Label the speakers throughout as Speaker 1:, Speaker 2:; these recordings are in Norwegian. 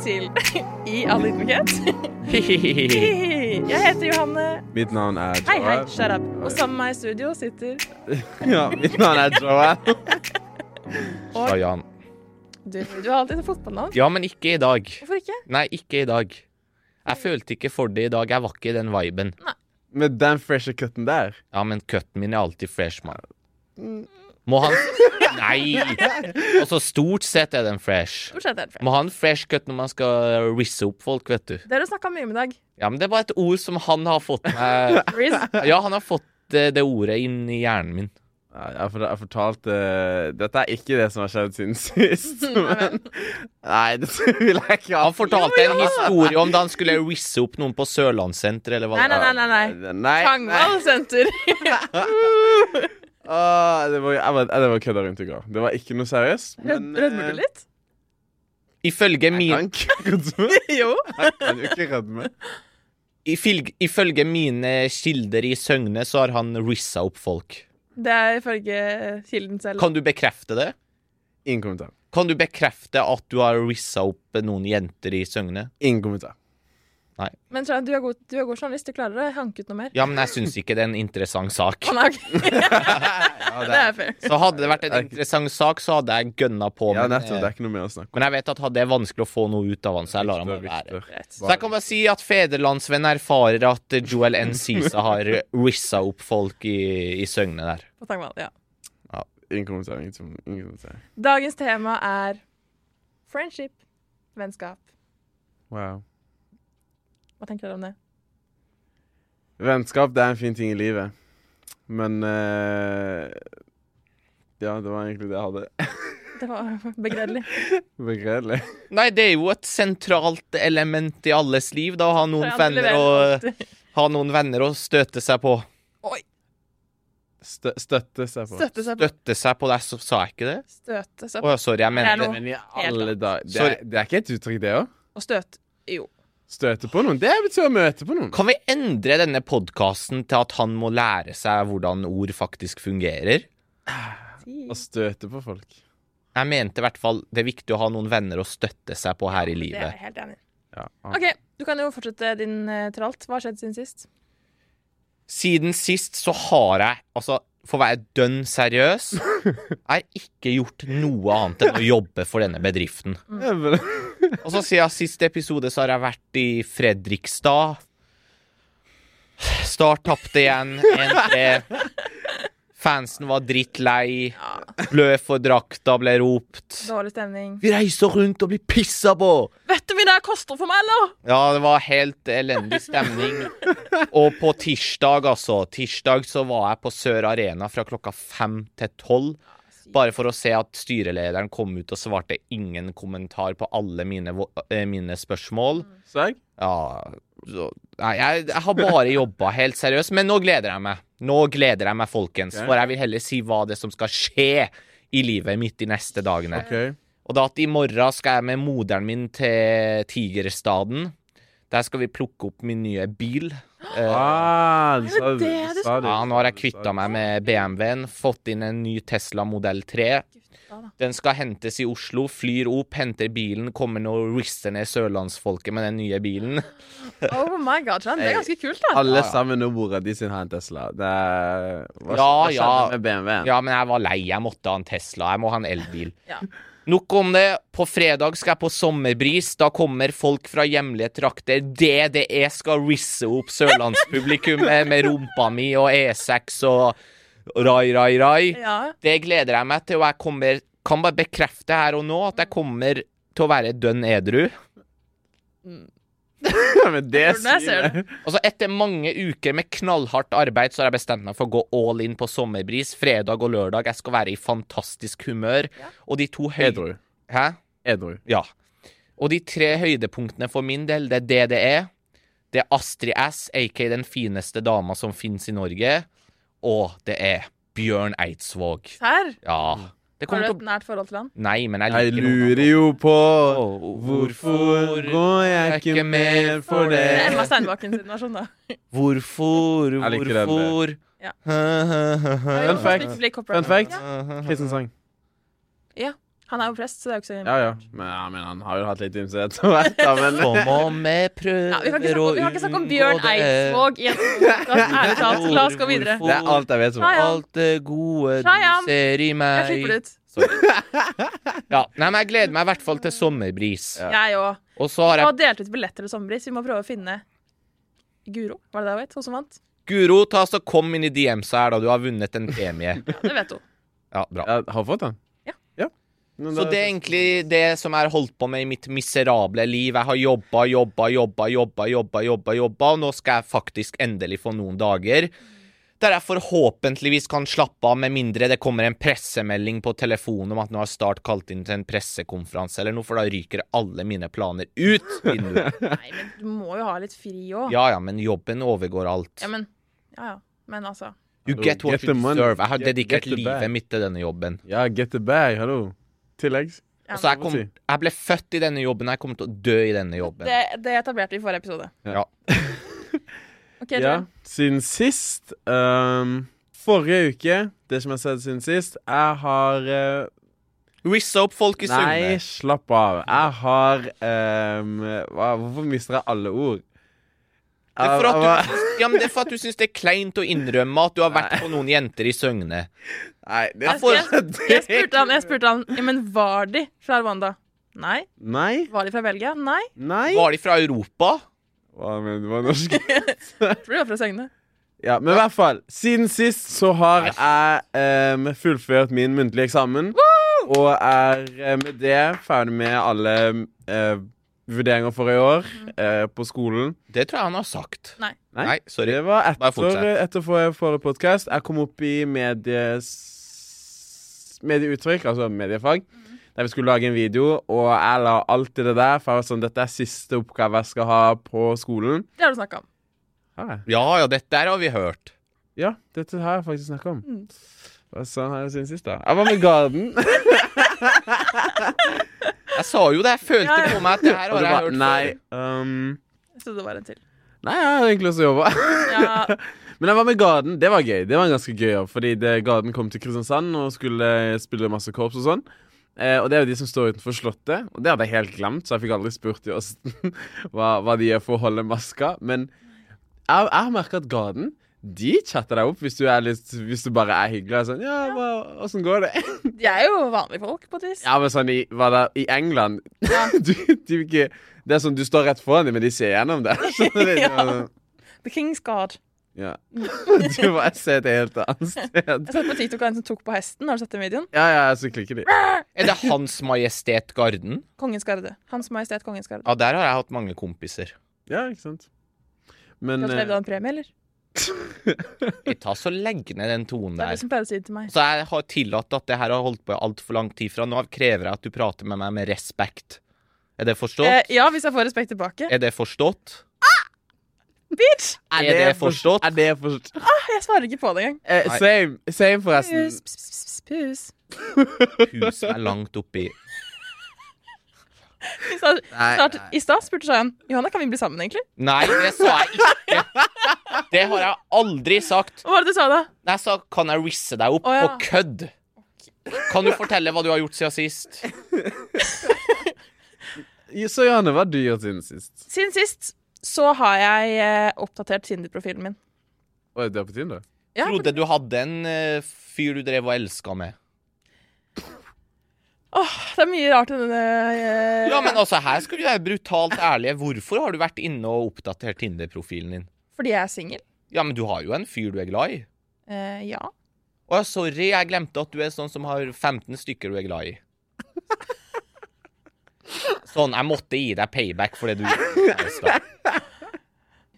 Speaker 1: til I all ydmykhet.
Speaker 2: Hihihi.
Speaker 1: Jeg heter Johanne.
Speaker 2: Mitt navn er
Speaker 1: Hei, hei,
Speaker 2: Joel.
Speaker 1: shut up. Og sammen med meg i studio sitter
Speaker 2: Ja, mitt navn er Joel.
Speaker 1: og
Speaker 2: Sa Jan.
Speaker 1: du. Du har alltid et fotballnavn.
Speaker 2: Ja, men ikke i dag.
Speaker 1: Hvorfor ikke?
Speaker 2: Nei, ikke i dag. Jeg følte ikke for det i dag. Jeg var ikke i den viben.
Speaker 3: Med den freshe cutten der.
Speaker 2: Ja, men cutten min er alltid fresh, mann. Må han Nei! Altså, stort sett er den fresh.
Speaker 1: Stort sett helt fresh.
Speaker 2: Må ha en fresh cut når man skal risse opp folk, vet du.
Speaker 1: Det har du snakka mye om i dag.
Speaker 2: Ja, men det var et ord som han har fått meg
Speaker 1: Riz.
Speaker 2: Ja, han har fått eh, det ordet inn i hjernen min.
Speaker 3: Ja, Jeg, for, jeg fortalte Dette er ikke det som har skjedd siden sist. Men, nei, det vil jeg ikke ha.
Speaker 2: Han fortalte en historie om da han skulle risse opp noen på Sørlandssenteret, eller hva
Speaker 1: Nei,
Speaker 2: det
Speaker 1: nei, nei. nei, nei.
Speaker 3: nei.
Speaker 1: Tangvall senter.
Speaker 3: Åh, det var, jeg, var- det var kødda rundt i går. Det var ikke noe seriøst. men,
Speaker 1: Rødmer du litt?
Speaker 2: Ifølge
Speaker 3: eh,
Speaker 2: min
Speaker 3: Jeg kan ikke rødme.
Speaker 1: Jo.
Speaker 3: Jeg kan jo ikke rødme.
Speaker 2: Ifylg- Ifølge mine kilder i Søgne så har han rissa opp folk.
Speaker 1: Det er ifølge kilden selv.
Speaker 2: Kan du bekrefte det?
Speaker 3: Ingen kommentar.
Speaker 2: Kan du bekrefte at du har rissa opp noen jenter i Søgne?
Speaker 3: Ingen kommentar.
Speaker 1: Men Sharan, du er god, du er god journalist. Du klarer å hanke ut noe mer.
Speaker 2: Ja, men jeg syns ikke det er en interessant sak.
Speaker 1: Å, nei, ok. Det er fair.
Speaker 2: Så hadde det vært en interessant sak, så hadde jeg gønna på.
Speaker 3: Ja,
Speaker 2: Men,
Speaker 3: nettopp. Det
Speaker 2: eh,
Speaker 3: er ikke noe mer å snakke om.
Speaker 2: men jeg vet at det er vanskelig å få noe ut av han, så jeg lar han bare være.
Speaker 3: Victor, Victor.
Speaker 2: Så jeg kan bare si at fedrelandsvenn erfarer at Joel N. Sisa har rissa opp folk i, i Søgne der.
Speaker 1: På Tangvall, ja.
Speaker 3: Ingen kommentar. Ingen, ingen kommentar.
Speaker 1: Dagens tema er friendship, vennskap.
Speaker 3: Wow.
Speaker 1: Hva tenker dere om det?
Speaker 3: Vennskap det er en fin ting i livet, men eh, Ja, det var egentlig det jeg hadde.
Speaker 1: Det var begredelig.
Speaker 3: Begredelig.
Speaker 2: Nei, det er jo et sentralt element i alles liv, da. Å ha noen venner å, ha noen venner å støte seg på.
Speaker 1: Oi!
Speaker 3: Stø støtte seg på.
Speaker 1: Støtte seg på.
Speaker 2: Støtte seg på deg, så sa jeg ikke det?
Speaker 1: Støtte seg
Speaker 2: Å
Speaker 1: på.
Speaker 2: ja, sorry, jeg mente
Speaker 1: Det er noe-
Speaker 3: Men i
Speaker 1: Helt
Speaker 3: alle dager det,
Speaker 2: Sorry.
Speaker 3: er- det er ikke et uttrykk, det òg.
Speaker 1: Og støt. Jo.
Speaker 3: Støte på noen. Det betyr å møte på noen.
Speaker 2: Kan vi endre denne podkasten til at han må lære seg hvordan ord faktisk fungerer?
Speaker 3: Å støte på folk.
Speaker 2: Jeg mente i hvert fall det er viktig å ha noen venner å støtte seg på her i
Speaker 1: Det er
Speaker 2: livet.
Speaker 1: jeg helt enig i.
Speaker 3: Ja.
Speaker 1: OK, du kan jo fortsette din eh, tralt. Hva har skjedd siden sist?
Speaker 2: Siden sist så har jeg, altså for å være dønn seriøs, jeg har ikke gjort noe annet enn å jobbe for denne bedriften.
Speaker 3: Ja, men-
Speaker 2: Og så siden siste episode så har jeg vært i Fredrikstad. Start tapte igjen. 1-3. Fansen var drittlei. Blø for drakta ble ropt.
Speaker 1: Dårlig stemning.
Speaker 2: Vi reiser rundt og blir pissa på!
Speaker 1: Vet du hva det her koster for meg, eller?
Speaker 2: Ja, det var helt elendig stemning. Og på tirsdag, altså. Tirsdag så var jeg på Sør Arena fra klokka fem til tolv. Bare for å se at styrelederen kom ut og svarte ingen kommentar på alle mine, vo- eh, mine spørsmål.
Speaker 3: Så jeg?
Speaker 2: Ja så, Nei, jeg, jeg har bare jobba, helt seriøst. Men nå gleder jeg meg. Nå gleder jeg meg, folkens.
Speaker 3: Ok.
Speaker 2: For jeg vil heller si hva det er som skal skje i livet mitt de neste dagene.
Speaker 3: OK.
Speaker 2: Og da at i morgen skal jeg med moderen min til Tigerstaden. Der skal vi plukke opp min nye bil. Eh,
Speaker 3: Ah,
Speaker 1: Er
Speaker 3: du
Speaker 1: det
Speaker 3: sa
Speaker 1: det du
Speaker 3: sa
Speaker 2: ja, nå har jeg kvitta meg med BMW-en, fått inn en ny Tesla modell 3.
Speaker 1: Gutta, da.
Speaker 2: Den skal hentes i Oslo, flyr opp, henter bilen, kommer nå og rister ned sørlandsfolket med den nye bilen.
Speaker 1: Oh my god, Sharan. Det er ganske kult, da.
Speaker 3: Alle sammen og mora di sin har en Tesla. Det er Hva
Speaker 2: Ja,
Speaker 3: skjedde
Speaker 2: ja.
Speaker 3: med BMW-en?
Speaker 2: Ja, men jeg var lei, jeg måtte ha en Tesla, jeg må ha en elbil.
Speaker 1: Ja.
Speaker 2: Nok om det. På fredag skal jeg på sommerbris. Da kommer folk fra hjemlige trakter. DDE skal risse opp sørlandspublikummet med rumpa mi og E6 og rai, rai, rai.
Speaker 1: ja.
Speaker 2: Det gleder jeg meg til, og jeg kommer, kan bare bekrefte her og nå at jeg kommer til å være dønn edru.
Speaker 3: men det
Speaker 1: Tror du jeg ser
Speaker 3: sier
Speaker 1: det?
Speaker 3: jeg.
Speaker 2: Altså Etter mange uker med knallhardt arbeid Så har jeg bestemt meg for å gå all in på sommerbris. Fredag og lørdag. Jeg skal være i fantastisk humør. Og de to høy...
Speaker 3: Edru.
Speaker 2: Hæ?
Speaker 3: Edru.
Speaker 2: Ja. Og de tre høydepunktene for min del, det er DDE, det er Astrid S, aka den fineste dama som fins i Norge, og det er Bjørn Eidsvåg.
Speaker 1: Her.
Speaker 2: Ja. Det
Speaker 1: Har du
Speaker 2: kommer til
Speaker 1: et
Speaker 2: å
Speaker 1: nært forhold til han?
Speaker 2: Nei, men jeg
Speaker 3: Jeg
Speaker 2: liker noen
Speaker 3: lurer jo på
Speaker 2: av dem. Å,
Speaker 3: Hvorfor går jeg ikke med for
Speaker 1: Det er
Speaker 3: det?
Speaker 1: Emma Steinbakken sin versjon, da.
Speaker 2: Hvorfor,
Speaker 3: Jeg liker den
Speaker 2: hvorfor
Speaker 1: Ja.
Speaker 2: Hø, hø, hø, hø.
Speaker 3: Fun fact.
Speaker 1: Ikke bli copyrightet.
Speaker 3: Fun fact.
Speaker 1: Ja.
Speaker 3: Kristens sang.
Speaker 1: Ja. Han er jo prest, så det er jo ikke så
Speaker 3: Ja, ja. Men, ja, men han har jo hatt litt ymse etter hvert, da. Men
Speaker 2: Som om jeg prøver
Speaker 1: Ja, vi, kan ikke snakke,
Speaker 2: å
Speaker 1: om- vi kan ikke snakke om
Speaker 2: unngå
Speaker 1: Bjørn
Speaker 2: det.
Speaker 1: Eidsvåg i en podkast. Ærlig talt. La oss gå videre.
Speaker 3: det er alt jeg vet om
Speaker 1: Nei, ja.
Speaker 2: Alt det gode
Speaker 1: Shyam.
Speaker 2: du ser i
Speaker 1: Jeg klipper det
Speaker 2: meg
Speaker 1: ut.
Speaker 2: ja. Nei, men Jeg gleder meg i hvert fall til sommerbris.
Speaker 3: Ja.
Speaker 1: Jeg òg.
Speaker 2: Og så har
Speaker 1: Og
Speaker 2: jeg
Speaker 1: delt ut billetter til sommerbris. Vi må prøve å finne Guro, var det det hun het? Hun som vant?
Speaker 2: Guro, ta så kom inn i DM-sa her, da. Du har vunnet en premie.
Speaker 1: Ja, det vet hun.
Speaker 2: Ja, bra.
Speaker 3: Jeg har fått den?
Speaker 1: Ja.
Speaker 3: Men
Speaker 2: Så det er egentlig det som jeg har holdt på med i mitt miserable liv. Jeg har jobba, jobba, jobba, jobba, jobba, jobba, jobba, og nå skal jeg faktisk endelig få noen dager der jeg forhåpentligvis kan slappe av, med mindre det kommer en pressemelding på telefonen om at nå har Start kalt inn til en pressekonferanse eller noe, for da ryker alle mine planer ut vinduet.
Speaker 1: Nei, men du må jo ha litt fri òg.
Speaker 2: Ja ja, men jobben overgår alt.
Speaker 1: Ja, men Ja, ja. Men altså.
Speaker 2: You get what
Speaker 3: Get
Speaker 2: you
Speaker 3: the money.
Speaker 2: deserve. Jeg har
Speaker 3: Get- get
Speaker 2: dedikert
Speaker 3: the bag.
Speaker 2: livet mitt til denne jobben.
Speaker 3: Ja, get the bag, hallo. Tilleggs.
Speaker 1: Ja,
Speaker 2: Og så jeg,
Speaker 3: må
Speaker 2: kom,
Speaker 3: si.
Speaker 2: jeg ble født i denne jobben, jeg kommer til å dø i denne jobben.
Speaker 1: Det, det etablerte vi i forrige episode.
Speaker 2: Ja.
Speaker 1: OK,
Speaker 3: Ja,
Speaker 1: Adrian.
Speaker 3: siden sist ehm, Forrige uke, det som jeg har sett siden sist Jeg har eh,
Speaker 2: Rizz opp, folk i Sugne.
Speaker 3: Nei, slapp av. Jeg har ehm, hva, Hvorfor mister jeg alle ord?
Speaker 2: Det er, for
Speaker 3: Jeg-
Speaker 2: at
Speaker 3: jeg-
Speaker 2: du, ja, men det er for at du syns det er kleint å innrømme at du har vært på noen jenter i Søgne.
Speaker 3: Nei, det
Speaker 1: Jeg, jeg, jeg spurte han, jeg spurte han ja, men var de fra Rwanda. Nei.
Speaker 3: Nei,
Speaker 1: Var de fra Belgia? Nei.
Speaker 3: nei.
Speaker 2: Var de fra Europa?
Speaker 3: Hva men, det var norsk?
Speaker 1: Jeg tror de var fra Søgne.
Speaker 3: Ja, men i hvert fall. Siden sist så har jeg ehm, fullført min muntlige eksamen. Og er eh, med det ferdig med alle eh, vurderinger for i år eh, på skolen.
Speaker 2: Det tror jeg han har sagt.
Speaker 1: Nei.
Speaker 3: Nei.
Speaker 2: Nei sorry.
Speaker 3: Det var
Speaker 2: Bare
Speaker 3: etter,
Speaker 2: fortsett.
Speaker 3: etter forrige, forrige podkast. Jeg kom opp i medies, medieuttrykk, altså
Speaker 2: Mm.
Speaker 3: mediefag, der vi skulle lage en video, og jeg la alt i det der. For jeg var sånn, dette er siste oppgave jeg skal ha på skolen.
Speaker 1: Det har du snakka om.
Speaker 3: Har jeg?
Speaker 2: Ja ja, dette der har vi hørt.
Speaker 3: Ja, dette har jeg faktisk snakka om.
Speaker 1: Mm.
Speaker 3: Hva sa han her siden sist, da? Jeg var med Garden.
Speaker 2: Jeg sa jo det, jeg følte
Speaker 1: Ja, ja.
Speaker 2: på meg at det her har
Speaker 3: Og det
Speaker 2: jeg
Speaker 3: var,
Speaker 2: hørt
Speaker 3: nei,
Speaker 2: før.
Speaker 3: um,
Speaker 1: Jeg trodde det var en til.
Speaker 3: nei, jeg har egentlig også jobba.
Speaker 1: Ja,
Speaker 3: Men jeg var med Garden. Det var gøy. Det var en ganske gøy jobb, fordi det, Garden kom til Kristiansand og skulle eh, spille masse korps og sånn. Eh, og det er jo de som står utenfor Slottet, og det hadde jeg helt glemt, så jeg fikk aldri spurt de hvordan, hva, hva de gjør for å holde maska. Men jeg, jeg har merka at Garden de chatter deg opp hvis du, er litt, hvis du bare er hyggelig. Og er sånn, ja, hva, hvordan går det?
Speaker 1: de er jo vanlige folk, på et vis.
Speaker 3: Ja, men sånn i, hva da, i England du, de, vil ikke, Det er sånn, du står rett foran dem, men de ser gjennom det. Sånn, det er
Speaker 1: Ja.
Speaker 3: sånn,
Speaker 1: The King's Guard.
Speaker 3: ja. Du bare ser et helt annet sted.
Speaker 1: Jeg så på TikTok av en som tok på hesten. Har du sett den videoen?
Speaker 3: Ja, ja, så klikker de.
Speaker 2: Er det Hans Majestet Garden?
Speaker 1: Kongens Garde. Hans Majestet Kongens Garde.
Speaker 2: Ja, der har jeg hatt mange kompiser.
Speaker 3: Ja, ikke sant. Men
Speaker 1: Gratulerer, du
Speaker 3: eh,
Speaker 1: har en premie, eller?
Speaker 2: Ta så Legg ned den tonen
Speaker 1: Det er
Speaker 2: der.
Speaker 1: du som pleier å si det til meg.
Speaker 2: Så jeg har tillatt at det her har holdt på i altfor lang tid. Fra nå av krever jeg at du prater med meg med respekt. Er det
Speaker 1: Eh,
Speaker 2: forstått?
Speaker 1: ja, hvis jeg får respekt tilbake.
Speaker 2: Er det forstått?
Speaker 1: Bitch!
Speaker 2: Er det forstått?
Speaker 3: Er det forstått?
Speaker 1: Jeg svarer ikke på det engang.
Speaker 3: Eh,
Speaker 2: Nei.
Speaker 3: same, same, forresten.
Speaker 1: Pus, pus, pus, pus, pus.
Speaker 2: Pus meg langt oppi
Speaker 1: I stad-
Speaker 3: Nei,
Speaker 1: snart-
Speaker 3: nei.
Speaker 1: I stad spurte Shayan Johanna, kan vi bli sammen, egentlig?
Speaker 2: Nei, det sa jeg ikke. Det har jeg aldri sagt.
Speaker 1: Hva var det du sa da?
Speaker 2: Jeg sa 'kan jeg risse deg opp'
Speaker 1: Å, ja.
Speaker 2: på kødd. Kan du fortelle hva du har gjort siden sist?
Speaker 3: Så Johanne, hva har du gjort siden sist?
Speaker 1: Siden sist så har jeg eh, oppdatert Tinder-profilen min.
Speaker 3: Oi, du er på Tinder?
Speaker 1: Ja,
Speaker 2: Trodde du hadde en eh, fyr du drev og elska med.
Speaker 1: Åh, det er mye rart i denne eh,
Speaker 2: Ja, men altså, her skal vi være brutalt ærlige. Hvorfor har du vært inne og oppdatert Tinder-profilen din?
Speaker 1: Fordi jeg er singel.
Speaker 2: Ja, men du har jo en fyr du er glad i.
Speaker 1: Eh, ja.
Speaker 2: Å ja, sorry, jeg glemte at du er sånn som har 15 stykker du er glad i. Sånn, jeg måtte gi deg payback for det du gjorde i stad.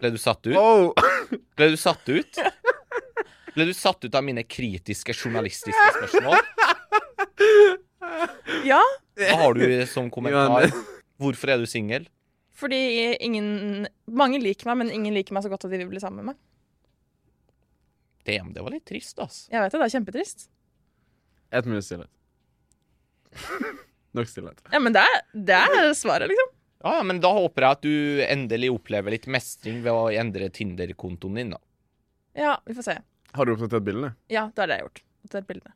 Speaker 2: Ble du satt ut?
Speaker 3: Oh.
Speaker 2: Ble du satt ut? Ble du satt ut av mine kritiske journalistiske spørsmål?
Speaker 1: Ja,
Speaker 2: Hva har du som kommentar? Hvorfor er du singel?
Speaker 1: fordi ingen Mange liker meg, men ingen liker meg så godt at de vil bli sammen med meg.
Speaker 2: Damn, det var litt trist, ass.
Speaker 1: Jeg vet det, det er kjempetrist.
Speaker 3: Ett minutts stillhet. Nok stillhet.
Speaker 1: Ja, men det er, det er svaret, liksom.
Speaker 2: Ja, ja, men da håper jeg at du endelig opplever litt mestring ved å endre Tinder-kontoen din, da.
Speaker 1: Ja, vi får se.
Speaker 3: Har du oppdatert bildene?
Speaker 1: Ja, det har det jeg gjort. Oppdatert bildene.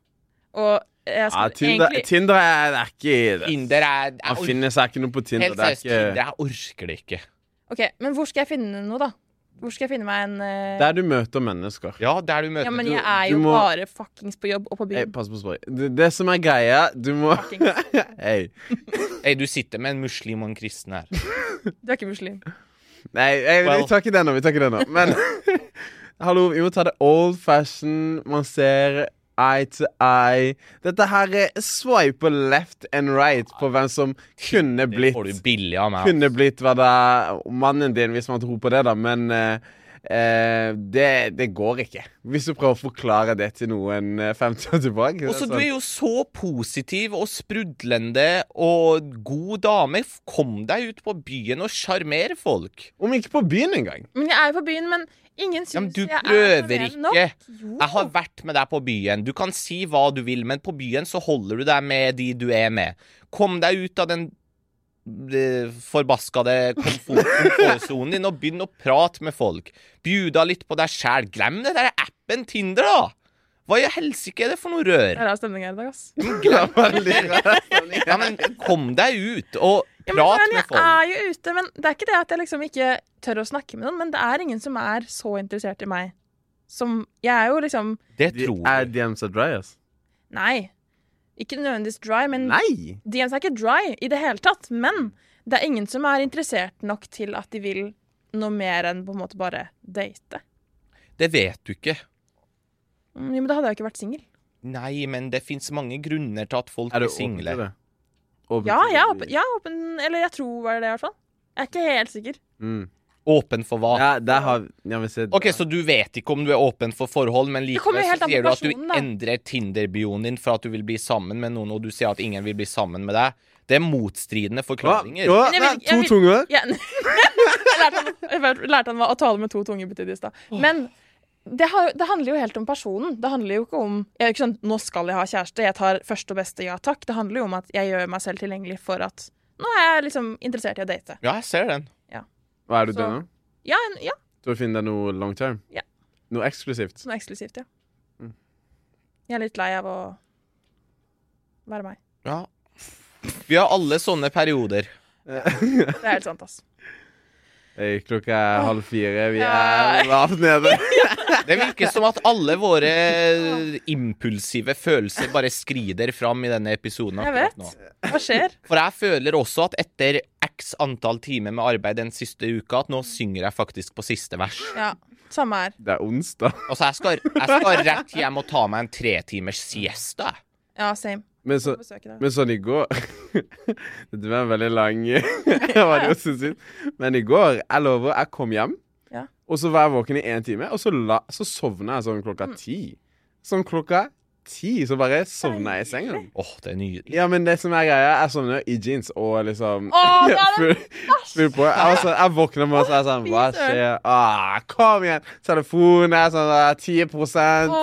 Speaker 1: Og jeg
Speaker 3: Ja,
Speaker 1: skal
Speaker 3: Tinder,
Speaker 1: egentlig
Speaker 3: Tinder er, det er ikke det.
Speaker 2: Tinder er jeg
Speaker 3: Han
Speaker 2: orker-
Speaker 3: finner seg ikke noe på Tinder.
Speaker 2: Helt
Speaker 3: Det er
Speaker 2: seriøst, Tinder.
Speaker 3: ikke
Speaker 2: Jeg orker det ikke.
Speaker 1: Ok, men hvor skal jeg finne noe, da? Hvor skal jeg finne meg en eh,
Speaker 3: der du møter mennesker.
Speaker 2: Ja, der du Eh, møter
Speaker 1: Ja, men
Speaker 3: du-
Speaker 1: jeg er
Speaker 3: du
Speaker 1: jo
Speaker 3: må-
Speaker 1: bare fuckings på jobb og på
Speaker 3: Hey,
Speaker 1: byen.
Speaker 3: pass på språket. Det, det som er greia, du må
Speaker 1: Fuckings.
Speaker 3: Hei.
Speaker 2: Hey, du sitter med en muslim og en kristen her.
Speaker 1: Du er ikke muslim.
Speaker 3: Nei, jeg,
Speaker 2: Well.
Speaker 3: vi tar ikke det nå. Vi tar ikke det nå. Men hallo, vi må ta det old fashion. Man ser eye to eye. Dette her er swipe left and right på hvem som kunne
Speaker 2: Det får du
Speaker 3: blitt
Speaker 2: billig av meg.
Speaker 3: Kunne blitt hva det er mannen din, hvis man tror på det, da. Men eh, eh, det, det går ikke. Hvis du prøver å forklare det til noen eh, 50 år tilbake. det er
Speaker 2: Også,
Speaker 3: sånn-
Speaker 2: du er jo så positiv og sprudlende og god dame. F- Kom deg ut på byen og sjarmer folk.
Speaker 3: Om ikke på byen engang.
Speaker 1: Men jeg er jo på byen, men ingen syns
Speaker 2: Ja, men du
Speaker 1: jeg er
Speaker 2: prøver
Speaker 1: sjarmerende
Speaker 2: ikke.
Speaker 1: nok. Jo.
Speaker 2: Jeg har vært med deg på byen. Du kan si hva du vil, men på byen så holder du deg med de du er med. Kom deg ut av den eh, forbaskede komfort- komfortsonen din og begynn å prate med folk. Bjuda litt på deg sjæl. Glem det der appen Tinder, da! Hva i helsike er det for noe
Speaker 1: Det
Speaker 2: rør?
Speaker 1: er rar stemning her i dag, ass.
Speaker 3: Det var veldig rar stemning.
Speaker 2: Ja, men kom deg ut og
Speaker 1: Ja, men,
Speaker 2: prat
Speaker 1: men
Speaker 2: med
Speaker 1: jeg
Speaker 2: folk.
Speaker 1: er jo ute, men det er ikke det at jeg liksom ikke tør å snakke med noen, men det er ingen som er så interessert i meg. Som Jeg er jo liksom
Speaker 2: Det
Speaker 3: De-
Speaker 2: tror
Speaker 3: Er altså?
Speaker 2: jeg.
Speaker 3: DMs er dry, ass?
Speaker 1: Nei. Ikke nødvendigvis dry, men
Speaker 3: Nei!
Speaker 1: DMs er ikke dry i det hele tatt. Men det er ingen som er interessert nok til at de vil noe mer enn på en måte bare date.
Speaker 2: Det vet du ikke.
Speaker 1: Mm, Jo, men da hadde jeg jo ikke vært singel.
Speaker 2: Nei, men det fins mange grunner til at folk
Speaker 3: Er
Speaker 2: er,
Speaker 3: du
Speaker 2: single.
Speaker 3: åpen til det? Åpen
Speaker 1: Ja,
Speaker 3: til
Speaker 1: jeg er
Speaker 3: det?
Speaker 1: åpen, jeg er åpen Eller jeg tror det er det, i hvert fall. Jeg er ikke helt sikker.
Speaker 3: Mm.
Speaker 2: Åpen for hva?
Speaker 3: Ja, der har vi ja, vi ser-
Speaker 2: Ok, Så du vet ikke om du er åpen for forhold, men
Speaker 1: Det kommer
Speaker 2: likevel
Speaker 1: jo helt
Speaker 2: så
Speaker 1: an på
Speaker 2: sier du at du
Speaker 1: personen, da.
Speaker 2: endrer Tinder-bioen din for at du vil bli sammen med noen, og du sier at ingen vil bli sammen med deg. Det er motstridende
Speaker 3: Å,
Speaker 2: forklaringer.
Speaker 3: å,
Speaker 1: Men jeg
Speaker 3: nei,
Speaker 1: vil- jeg
Speaker 3: To
Speaker 1: vil-
Speaker 3: tunger.
Speaker 1: Ja. jeg lærte han, jeg lærte han hva- å tale med to tunger betydde i stad. Men det, har, jo- det handler jo helt om personen. Det handler jo ikke om jeg er jo ikke sånn, Nå skal jeg ha kjæreste, jeg tar første og beste ja takk. Det handler jo om at jeg gjør meg selv tilgjengelig for at nå er jeg liksom interessert i å date.
Speaker 2: Ja, jeg ser den.
Speaker 3: Hva er du
Speaker 1: Så-
Speaker 3: til nå?
Speaker 1: Ja, en, ja
Speaker 3: Du vil finne deg noe long term?
Speaker 1: Ja.
Speaker 3: Noe eksklusivt?
Speaker 1: sånn eksklusivt, ja.
Speaker 3: Mm.
Speaker 1: Jeg er litt lei av å være meg.
Speaker 2: Ja. Vi har alle sånne perioder.
Speaker 1: Det er helt sant, ass.
Speaker 3: Eh, Klokka er halv fire. Vi
Speaker 1: Ja.
Speaker 3: er lavt nede.
Speaker 2: Det virker som at alle våre impulsive følelser bare skrider fram i denne episoden.
Speaker 1: Jeg vet.
Speaker 2: akkurat nå.
Speaker 1: Hva skjer?
Speaker 2: For jeg føler også at etter x antall timer med arbeid den siste uka, at nå synger jeg faktisk på siste vers.
Speaker 1: Ja, Samme her.
Speaker 3: Det er onsdag.
Speaker 2: Altså, jeg skal, jeg skal rett hjem og ta meg en tretimers siesta. jeg.
Speaker 1: Ja, same.
Speaker 3: Men, så,
Speaker 1: Besøk i dag.
Speaker 3: men sånn i går Dette var en veldig lang var det jo sinnssykt. Men i går, jeg lover, jeg kom hjem,
Speaker 1: Ja.
Speaker 3: og så var jeg våken i én time, og så, la, så sovna jeg sånn klokka
Speaker 1: Mm.
Speaker 3: ti. Sånn klokka ti, så bare sovna jeg i sengen.
Speaker 2: Åh, det er nydelig.
Speaker 3: Ja, men det som er greia, jeg sovner i jeans og liksom
Speaker 1: Å, det er
Speaker 3: full, full på. Jeg, var sånn- jeg våkner med og så er jeg sånn
Speaker 1: Fy
Speaker 3: Hva
Speaker 1: søren.
Speaker 3: skjer? Ah, kom igjen! Telefonen er sånn ah, 10 Og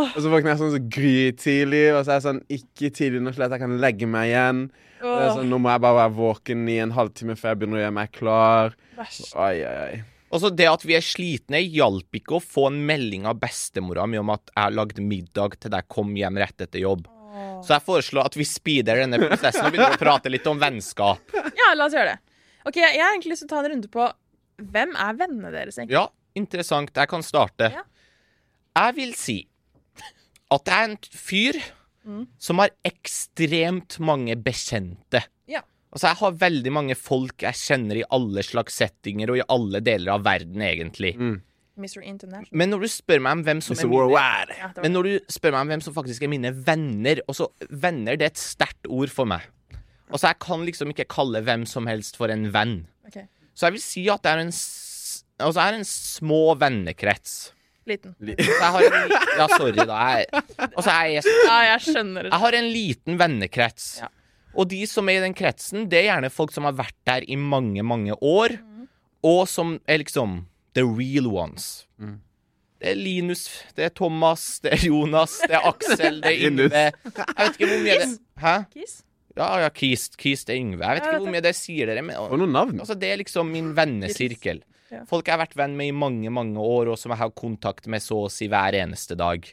Speaker 1: Åh,
Speaker 3: så våkner jeg sånn så grytidlig, og så er jeg sånn Ikke tidlig nok til at jeg kan legge meg igjen. Det er
Speaker 1: åh,
Speaker 3: sånn, nå må jeg bare være våken i en halvtime før jeg begynner å gjøre meg klar.
Speaker 1: Verst.
Speaker 3: Oi, oi, oi.
Speaker 2: Altså, det at vi er slitne, hjalp ikke å få en melding av bestemora mi om at jeg har lagd middag til deg, kom hjem rett etter jobb.
Speaker 1: Åh.
Speaker 2: Så jeg foreslår at vi speeder denne prosessen og begynner å prate litt om vennskap.
Speaker 1: Ja, la oss gjøre det. Ok, Jeg jeg har egentlig lyst til å ta en runde på hvem er vennene deres. egentlig?
Speaker 2: Ja, interessant. Jeg kan starte.
Speaker 1: Ja.
Speaker 2: Jeg vil si at jeg er en fyr
Speaker 1: Mm.
Speaker 2: som har ekstremt mange bekjente.
Speaker 1: Ja.
Speaker 2: Altså, jeg har veldig mange folk jeg kjenner i alle slags settinger og i alle deler av verden, egentlig.
Speaker 1: Mr. International.
Speaker 2: Men når du spør meg om hvem som
Speaker 3: Mr.
Speaker 2: er mine
Speaker 3: Worldwide.
Speaker 1: Ja, det var-
Speaker 2: Men når du spør meg om hvem som faktisk er mine venner også, Venner det er et sterkt ord for meg. Altså, Jeg kan liksom ikke kalle hvem som helst for en venn.
Speaker 3: Mm.
Speaker 1: ok,
Speaker 2: Så jeg vil si at det er en, s- altså, jeg er en små vennekrets.
Speaker 1: Liten.
Speaker 2: Så jeg har en, li- ja, sorry, da. Jeg, altså, jeg, er,
Speaker 1: Ja, jeg skjønner
Speaker 3: Ah.
Speaker 1: det.
Speaker 2: jeg har en liten vennekrets.
Speaker 1: Ja.
Speaker 2: Og de som er i den kretsen, det er gjerne folk som har vært der i mange, mange år, og som er liksom the real ones.
Speaker 3: Mm.
Speaker 2: Det er Linus, det er Thomas, det er Jonas, det er Aksel, det er Yngve.
Speaker 3: Linus.
Speaker 2: Jeg vet ikke hvor mye det Hæ?
Speaker 1: Kiss?
Speaker 2: Ja, ja, Kist, Kist er Yngve. Jeg
Speaker 1: Ja,
Speaker 2: vet ikke
Speaker 1: dette-
Speaker 2: hvor mye det sier dere, men
Speaker 3: Og noen navn.
Speaker 2: Altså, det er liksom min vennesirkel.
Speaker 1: Ja.
Speaker 2: Folk jeg har vært venn med i mange, mange år, og som jeg har kontakt med så å si hver eneste dag.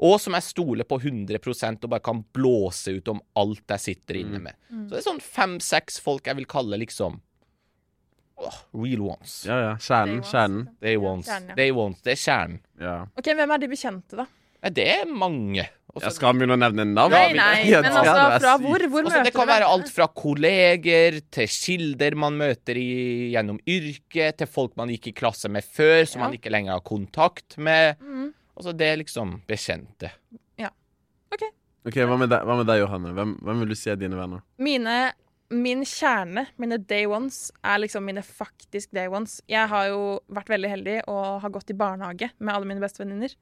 Speaker 2: Og som jeg stoler på 100 og bare kan blåse ut om alt jeg sitter inne
Speaker 3: Mm.
Speaker 2: med. Så det er sånn fem-seks folk jeg vil kalle liksom åh, real ones.
Speaker 3: Ja, ja. Kjernen. Kjernen.
Speaker 2: They ones.
Speaker 1: Kjernen, ja.
Speaker 2: They ones. Det er kjernen.
Speaker 3: Ja.
Speaker 1: Ok, Hvem er de bekjente, da?
Speaker 2: Nei, Det er mange. Også,
Speaker 3: Jeg skal begynne å nevne navn.
Speaker 1: Nei, nei, men
Speaker 3: Ja, det
Speaker 1: altså
Speaker 3: er
Speaker 1: fra
Speaker 3: sykt.
Speaker 1: hvor? Hvor
Speaker 2: også,
Speaker 1: møter
Speaker 2: det kan
Speaker 1: du
Speaker 2: være
Speaker 1: dem?
Speaker 2: alt fra kolleger til kilder man møter i, gjennom yrket, til folk man gikk i klasse med før, som
Speaker 1: Ja.
Speaker 2: man ikke lenger har kontakt med.
Speaker 1: Mhm.
Speaker 2: Altså, det er liksom bekjente.
Speaker 3: Ok, Hva med deg, hva med deg Johanne? Hvem, hvem vil du si er dine venner?
Speaker 1: Mine, min kjerne, mine day ones, er liksom mine faktisk day ones. Jeg har jo vært veldig heldig og har gått i barnehage med alle mine bestevenninner.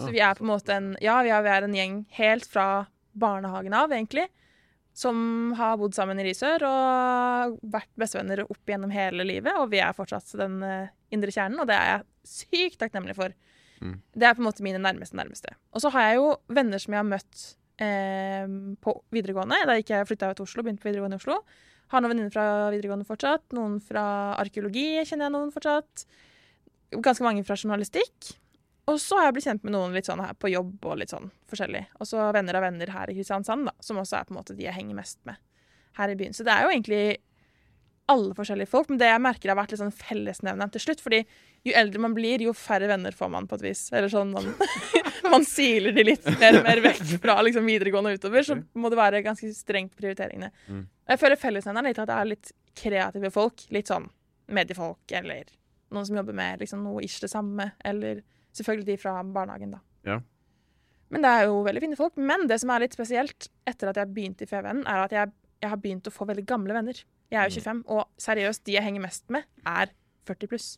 Speaker 1: Så
Speaker 3: Ah,
Speaker 1: vi er på en måte en Ja, vi er, vi er en gjeng helt fra barnehagen av, egentlig. Som har bodd sammen i Risør og vært bestevenner opp gjennom hele livet. Og vi er fortsatt den eh, indre kjernen, og det er jeg sykt takknemlig for.
Speaker 3: Mm.
Speaker 1: Det er på en måte mine nærmeste nærmeste. Og så har jeg jo venner som jeg har møtt eh, på videregående. Da gikk jeg flytta ut til Oslo, begynte på videregående i Oslo. Har noen venninner fra videregående fortsatt. Noen fra arkeologi kjenner jeg noen fortsatt. Ganske mange fra journalistikk. Og så har jeg blitt kjent med noen litt sånn her på jobb og litt sånn forskjellig. Og så venner av venner her i Kristiansand, da, som også er på en måte de jeg henger mest med her i byen. Så det er jo egentlig alle forskjellige folk, men det jeg merker har vært litt sånn fellesnevneren til slutt. fordi jo eldre man blir, jo færre venner får man på et vis. Eller sånn, man, man siler de litt mer og mer vekk fra liksom videregående og utover, så må det være ganske strengt på prioriteringene.
Speaker 3: Mm.
Speaker 1: Jeg føler fellesnevneren er litt at det er litt kreative folk. Litt sånn mediefolk, eller noen som jobber med liksom noe ish det samme, eller selvfølgelig de fra barnehagen, da.
Speaker 3: Ja.
Speaker 1: Men det er jo veldig fine folk. Men det som er litt spesielt etter at jeg begynte i FVN, er at jeg, jeg har begynt å få veldig gamle venner. Jeg
Speaker 3: Mm.
Speaker 1: er jo 25, og seriøst, de jeg henger mest med, er 40 pluss.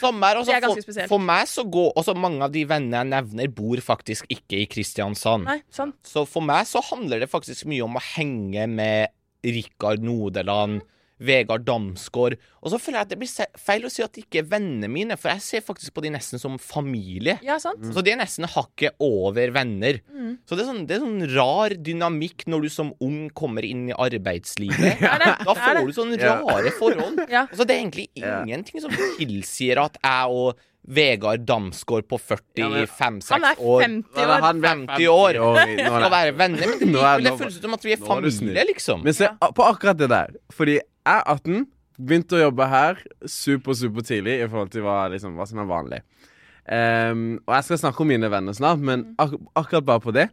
Speaker 2: Samme her.
Speaker 1: Det er ganske
Speaker 2: Altså, for,
Speaker 1: spesielt.
Speaker 2: for meg så går også mange av de vennene jeg nevner, bor faktisk ikke i
Speaker 3: Mm.
Speaker 2: Kristiansand.
Speaker 1: Nei, sant?
Speaker 2: Så for meg så handler det faktisk mye om å henge med Rikard Nodeland, Vegard Damsgaard. Og så føler jeg at det blir se- feil å si at de ikke er vennene mine, for jeg ser faktisk på de nesten som familie.
Speaker 1: Ja, sant?
Speaker 3: Mm.
Speaker 2: Mm. Så de er nesten hakket over venner.
Speaker 1: Mm.
Speaker 2: Så det er, sånn, det er sånn rar dynamikk når du som ung kommer inn i arbeidslivet.
Speaker 1: Det er det.
Speaker 2: Da
Speaker 1: det er
Speaker 2: får
Speaker 1: det.
Speaker 2: du sånne
Speaker 3: Ja.
Speaker 2: rare forhold.
Speaker 1: Ja.
Speaker 2: Altså, det er egentlig
Speaker 3: Ja.
Speaker 2: ingenting som tilsier at jeg og Vegard Damsgaard på
Speaker 3: Ja, men-
Speaker 2: 45-6
Speaker 1: Han er
Speaker 2: år
Speaker 1: 50
Speaker 3: Nei,
Speaker 1: år.
Speaker 3: han ble
Speaker 2: 50 år.
Speaker 3: år i- nå er
Speaker 2: skal
Speaker 3: det-
Speaker 2: være venner. Men det,
Speaker 3: Nå er-
Speaker 2: likevel, det
Speaker 3: nå-
Speaker 2: føles ut som at vi er
Speaker 3: nå er du snill.
Speaker 2: familie, liksom.
Speaker 3: Men se
Speaker 1: Ja.
Speaker 3: a- på akkurat det der. Fordi jeg er 18, begynte å jobbe her super, super tidlig i forhold til hva, liksom, hva som er vanlig. Ehm, og jeg skal snakke om mine venner snart,
Speaker 1: Mm.
Speaker 3: men ak akkurat bare på det.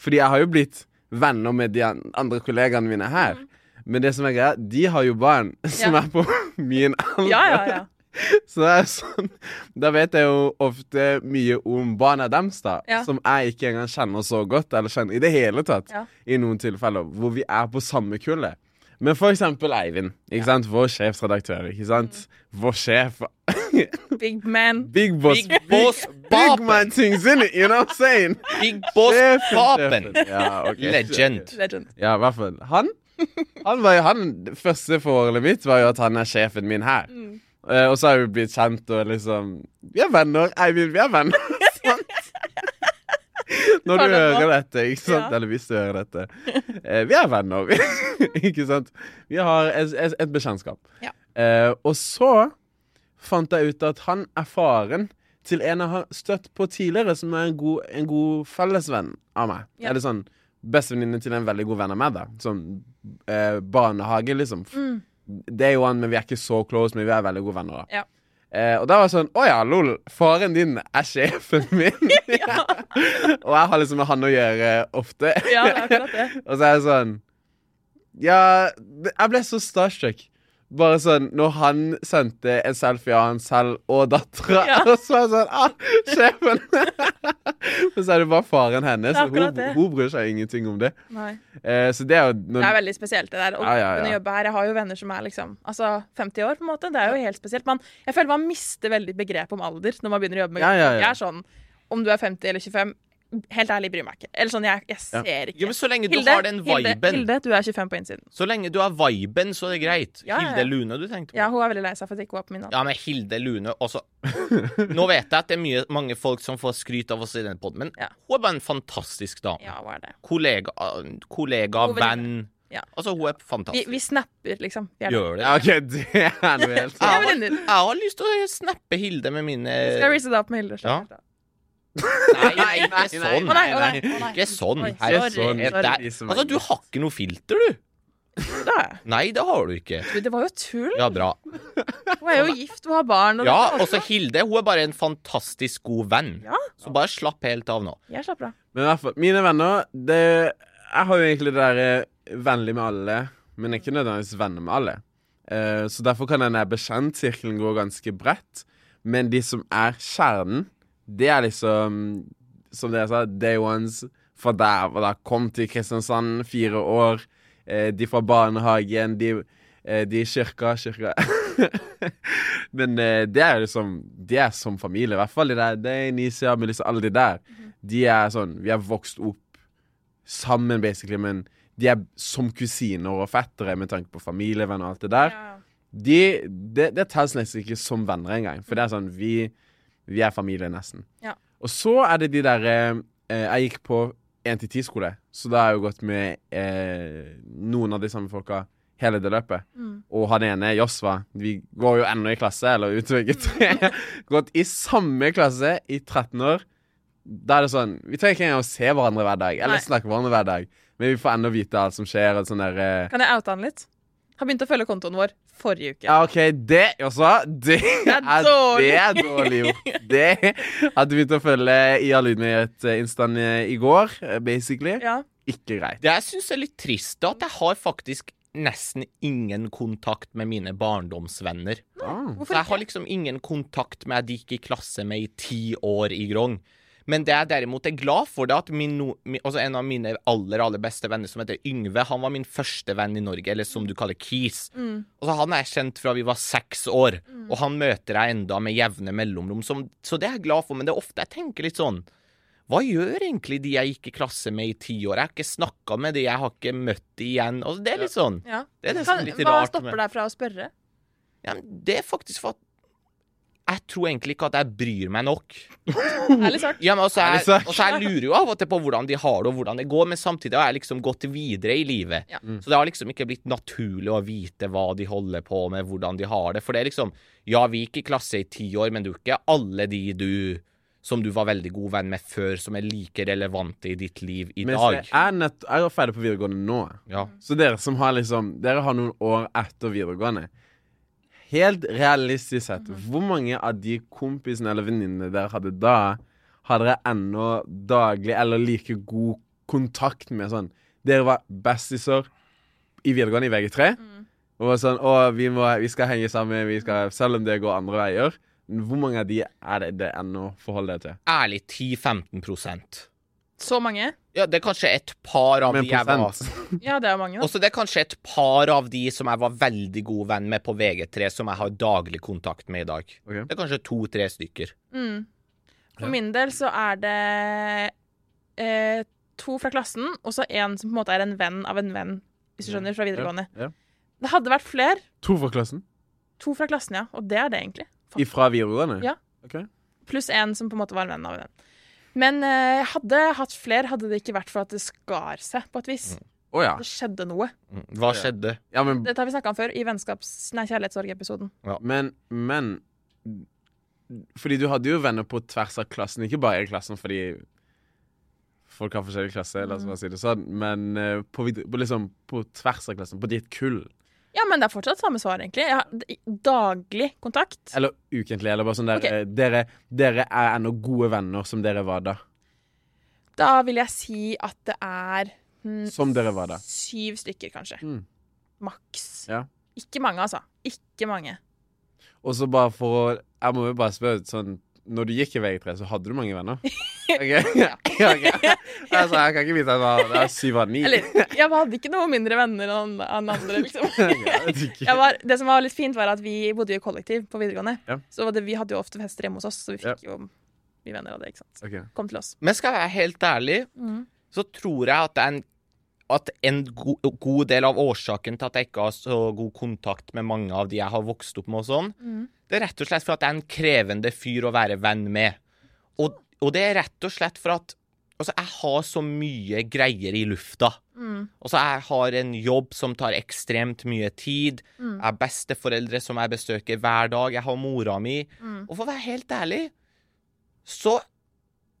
Speaker 3: Fordi jeg har jo blitt venner med de an andre kollegaene mine her. Men det som er greia, de har jo barn
Speaker 1: Mm.
Speaker 3: som
Speaker 1: Ja.
Speaker 3: er på min alder.
Speaker 1: Ja, ja, ja.
Speaker 3: Så det er sånn Da vet jeg jo ofte mye om barna deres, da.
Speaker 1: Ja.
Speaker 3: Som jeg ikke engang kjenner så godt, eller kjenner i det hele tatt.
Speaker 1: Ja.
Speaker 3: I noen tilfeller hvor vi er på samme kullet. Men for eksempel Eivind, ikke sant? vår sjefsredaktør. ikke sant? Vår sjef.
Speaker 1: Big man.
Speaker 3: Big boss.
Speaker 2: Mm. Big boss
Speaker 3: Big
Speaker 2: Papen!
Speaker 3: man things in it, you know what I'm saying?
Speaker 2: Big boss
Speaker 3: Sjefen,
Speaker 2: Papen!
Speaker 3: sjefen. Ja, ok.
Speaker 2: Legend.
Speaker 1: Legend.
Speaker 3: Ja, i hvert fall. Han, han var jo han Det første forholdet mitt var jo at han er sjefen min her.
Speaker 1: Mm.
Speaker 3: Eh, og så har vi blitt kjent og liksom Vi er venner. Eivind, vi er venner. sant? Når
Speaker 1: Har
Speaker 3: du
Speaker 1: det nå.
Speaker 3: hører dette, ikke sant?
Speaker 1: Ja.
Speaker 3: Eller hvis du hører dette. Eh, vi er venner, ikke sant? Vi har et, et, et bekjentskap.
Speaker 1: Ja.
Speaker 3: Eh, og så fant jeg ut at han er faren til en jeg har støtt på tidligere, som er en god, en god fellesvenn av meg.
Speaker 1: Ja.
Speaker 3: Eller sånn bestevenninne til en veldig god venn av meg, da. Sånn eh, barnehage, liksom.
Speaker 1: Mm.
Speaker 3: Det er jo han, men vi er ikke så close, men vi er veldig gode venner, da.
Speaker 1: Ja.
Speaker 3: Eh, og da var det sånn Å ja, lol. Faren din er sjefen min. og jeg har liksom med han å gjøre ofte.
Speaker 1: Ja, det er akkurat det.
Speaker 3: Og så er jeg sånn Ja, det- jeg ble så starstruck. Bare sånn når han sendte en selfie av han selv og dattera.
Speaker 1: Ja.
Speaker 3: Og så er jeg sånn Ah, sjefen! Men så er det bare faren hennes,
Speaker 1: Det er
Speaker 3: og
Speaker 1: akkurat
Speaker 3: hun,
Speaker 1: det.
Speaker 3: hun bryr seg ingenting om det.
Speaker 1: Nei.
Speaker 3: Eh, så det er jo når,
Speaker 1: Det er veldig spesielt, det der. Å
Speaker 3: Ja, ja, ja.
Speaker 1: kunne jobbe her. Jeg har jo venner som er liksom altså 50 år, på en måte. Det er jo helt spesielt. Man, jeg føler man mister veldig begrep om alder når man begynner å jobbe med
Speaker 3: Ja, ja, ja.
Speaker 1: Jeg er sånn Om du er 50 eller 25, helt ærlig, bryr meg ikke. Eller sånn, jeg, jeg
Speaker 3: Ja.
Speaker 1: ser
Speaker 2: Ja,
Speaker 1: ikke.
Speaker 2: men så lenge du
Speaker 1: Hilde,
Speaker 2: har den
Speaker 1: Hilde,
Speaker 2: viben,
Speaker 1: Hilde, du er 25 på innsiden.
Speaker 2: så lenge du har viben, så er det greit.
Speaker 1: Ja, ja, ja.
Speaker 2: Hilde Lune du tenkte
Speaker 1: Ja,
Speaker 2: på?
Speaker 1: hun er veldig lei seg for at ikke hun er på min alder.
Speaker 2: Ja, men Hilde Lune også Nå vet jeg at det er mye, mange folk som får skryt av oss i den podden, men
Speaker 1: Ja.
Speaker 2: hun er bare en fantastisk dame.
Speaker 1: Ja, hva er det?
Speaker 2: Kollega, kollega
Speaker 1: God venninne.
Speaker 2: venn.
Speaker 1: Ja.
Speaker 2: Altså, hun er
Speaker 1: Vi,
Speaker 2: fantastisk.
Speaker 1: vi snapper, liksom. Vi er der.
Speaker 2: Gjør det.
Speaker 3: Ja, OK, det er noe helt
Speaker 1: Ja.
Speaker 2: Jeg har, jeg har lyst til å snappe Hilde med mine
Speaker 1: Skal jeg reese det opp med Hilde?
Speaker 2: Ja.
Speaker 1: Ja.
Speaker 2: Nei, nei, ikke sånn.
Speaker 1: Å nei, å nei, å nei.
Speaker 2: Ikke sånn.
Speaker 1: Oi,
Speaker 2: Her,
Speaker 3: sorry,
Speaker 2: sånn.
Speaker 3: sorry.
Speaker 2: Der. Altså, du har ikke noe filter, du.
Speaker 1: Det er jeg.
Speaker 2: Nei, det har du ikke.
Speaker 1: Gud, Det var jo tull.
Speaker 2: Ja, bra.
Speaker 1: Hun er jo gift, hun har barn. Og
Speaker 2: Sånn Ja, også Hilde. Hun er bare en fantastisk god venn.
Speaker 1: Ja.
Speaker 2: Så bare slapp helt av nå.
Speaker 1: Jeg slapper av.
Speaker 3: Men i hvert fall, mine venner det, Jeg har jo egentlig det der eh, vennlig med alle, men ikke nødvendigvis venner med alle. Eh, så derfor kan denne bekjentsirkelen gå ganske bredt. Men de som er kjernen, det er liksom Som dere sa, day ones fra der og der. Kom til Kristiansand, fire år. Eh, de fra barnehagen, de, eh, de i kirka, kirka. Men eh, det er jo liksom De er som familie, i hvert fall. De der, det er Nisia, Melissa, alle de der. De er sånn Vi har vokst opp sammen, basically, men de er som kusiner og fettere med tanke på familievenn og alt det der. De, det, det telles nesten ikke som venner engang, for det er sånn Vi, vi er familie, nesten.
Speaker 1: Ja.
Speaker 3: Og så er det de der eh, eh, Jeg gikk på 1-10-skole, så da har jeg jo gått med eh, noen av de samme folka hele det løpet.
Speaker 1: Mm.
Speaker 3: Og han ene, Josva, vi går jo ennå i klasse, eller utviklet tre.
Speaker 1: Mm.
Speaker 3: Gått i samme klasse i 13 år. Da er det sånn Vi trenger ikke engang å se hverandre hver dag, eller
Speaker 1: Nei.
Speaker 3: snakke med hverandre hver dag, men vi får ennå vite alt som skjer. Og sånn der, eh,
Speaker 1: Kan jeg oute han litt? Han begynte å følge kontoen vår forrige uke.
Speaker 3: ja, OK, det Josva, det
Speaker 1: er
Speaker 3: er, det er dårlig gjort. Det hadde begynt å følge IA Lydnyhet-instaen i går, eh, basically.
Speaker 1: Ja.
Speaker 3: Ikke greit.
Speaker 2: Det jeg syns er litt trist, er at jeg har faktisk nesten ingen kontakt med mine barndomsvenner.
Speaker 3: Ah.
Speaker 2: Så
Speaker 1: Hvorfor
Speaker 2: jeg har
Speaker 1: ikke?
Speaker 2: liksom ingen kontakt med de gikk i klasse med i ti år i Grong. Men det jeg derimot er glad for, det er at min, no- mi- altså en av mine aller aller beste venner, som heter Yngve, han var min første venn i Norge, eller som du kaller Kis.
Speaker 1: Mm.
Speaker 2: Altså, han er kjent fra vi var seks år, og han møter jeg enda med jevne mellomrom. Som, så det er jeg glad for, men det er ofte jeg tenker litt sånn Hva gjør egentlig de jeg gikk i klasse med i ti år? Jeg har ikke snakka med de, jeg har ikke møtt de igjen. Altså, det er litt sånn.
Speaker 1: Ja.
Speaker 2: Det er det som
Speaker 1: Kan,
Speaker 2: er litt
Speaker 1: hva
Speaker 2: rart med-
Speaker 1: stopper deg fra å spørre?
Speaker 2: Ja, men det er faktisk for at jeg tror egentlig ikke at jeg bryr meg nok.
Speaker 1: Ærlig sagt.
Speaker 2: Ja, men også
Speaker 3: Ærlig
Speaker 2: jeg,
Speaker 3: sagt.
Speaker 2: også jeg lurer jo av og til på hvordan de har det, og hvordan det går, men samtidig har jeg liksom gått videre i livet.
Speaker 1: Ja.
Speaker 2: Så det har liksom ikke blitt naturlig å vite hva de holder på med, hvordan de har det. For det er liksom Ja, vi gikk i klasse i ti år, men du er ikke alle de du som du var veldig god venn med før, som er like relevante i ditt liv i
Speaker 3: Mens
Speaker 2: dag.
Speaker 3: jeg er, nett, jeg er ferdig på videregående nå.
Speaker 2: Ja.
Speaker 3: Så dere som har liksom Dere har noen år etter videregående. Helt realistisk sett,
Speaker 1: Mhm.
Speaker 3: hvor mange av de kompisene eller venninnene dere hadde da, har dere ennå daglig eller like god kontakt med sånn Dere var bestiser i videregående i VG3.
Speaker 1: Mm.
Speaker 3: Og var sånn Å, vi, må, vi skal henge sammen, vi skal, selv om det går andre veier. Hvor mange av de er det det ennå forholder dere til?
Speaker 2: Ærlig, 10-15
Speaker 1: Så mange?
Speaker 2: Ja, det er kanskje et par av
Speaker 3: Med
Speaker 2: de altså. jeg var
Speaker 3: prosent.
Speaker 1: Ja, det er mange.
Speaker 2: Og
Speaker 1: Da.
Speaker 2: så det er kanskje et par av de som jeg var veldig god venn med på VG3, som jeg har daglig kontakt med i dag.
Speaker 3: Ok.
Speaker 2: Det er kanskje to-tre stykker.
Speaker 1: Mm. For
Speaker 3: Ja.
Speaker 1: min del så er det eh, to fra klassen, og så en som på en måte er en venn av en venn, hvis du skjønner, fra videregående.
Speaker 3: Ja, ja.
Speaker 1: Det hadde vært flere.
Speaker 3: To fra klassen?
Speaker 1: To fra klassen, ja. Og det er det, egentlig. Faen.
Speaker 3: Ifra videregående?
Speaker 1: Ja.
Speaker 3: Ok.
Speaker 1: Pluss en som på en måte var en venn av en venn. Men eh, jeg hadde hatt flere, hadde det ikke vært for at det skar seg på et vis.
Speaker 3: Å ja.
Speaker 1: Det skjedde noe.
Speaker 2: Mm. Hva skjedde?
Speaker 3: ja men
Speaker 1: Dette har vi snakka om før i vennskaps- nei, kjærlighetssorgepisoden.
Speaker 3: Men, men Fordi du hadde jo venner på tvers av klassen, ikke bare i klassen fordi folk har forskjellige klasser,
Speaker 1: Mm.
Speaker 3: la oss bare si det sånn, men eh, på, vid- på, liksom, på tvers av klassen, på ditt kull,
Speaker 1: Ja, men det er fortsatt samme svar, egentlig. Jeg har d- daglig kontakt.
Speaker 3: eller ukentlig, eller bare sånn der
Speaker 1: Ok.
Speaker 3: eh, dere, dere er ennå gode venner som dere var da.
Speaker 1: Da vil jeg si at det er hm,
Speaker 3: Som dere var da.
Speaker 1: syv stykker, kanskje.
Speaker 3: Mm.
Speaker 1: Maks.
Speaker 3: Ja.
Speaker 1: Ikke mange, altså. Ikke mange.
Speaker 3: Og så bare for å Jeg må jo bare spørre sånn Når du gikk i VG3, så hadde du mange venner? Ok, ja, ok. Altså, jeg kan ikke vite at det var- det var syv av ni.
Speaker 1: Eller, jeg hadde ikke noe mindre venner enn enn andre, liksom.
Speaker 3: Jeg vet ikke.
Speaker 1: Jeg var, det som var litt fint, var at vi bodde jo i kollektiv på videregående.
Speaker 3: Ja.
Speaker 1: Så det, vi hadde jo ofte fester hjemme hos oss, så vi fikk jo mye venner av det. ikke sant?
Speaker 3: Ok.
Speaker 1: Kom til oss.
Speaker 2: Men skal jeg være helt ærlig,
Speaker 1: Mm,
Speaker 2: så tror jeg at det er en at en go god del av årsaken til at jeg ikke har så god kontakt med mange av de jeg har vokst opp med og sånn,
Speaker 1: mm,
Speaker 2: det er rett og slett for at jeg er en krevende fyr å være venn med. Og, og det er rett og slett for at altså, jeg har så mye greier i lufta.
Speaker 1: mm.
Speaker 2: Altså, jeg har en jobb som tar ekstremt mye tid. Jeg har besteforeldre som jeg besøker hver dag. Jeg har mora mi. Og for å være helt ærlig, så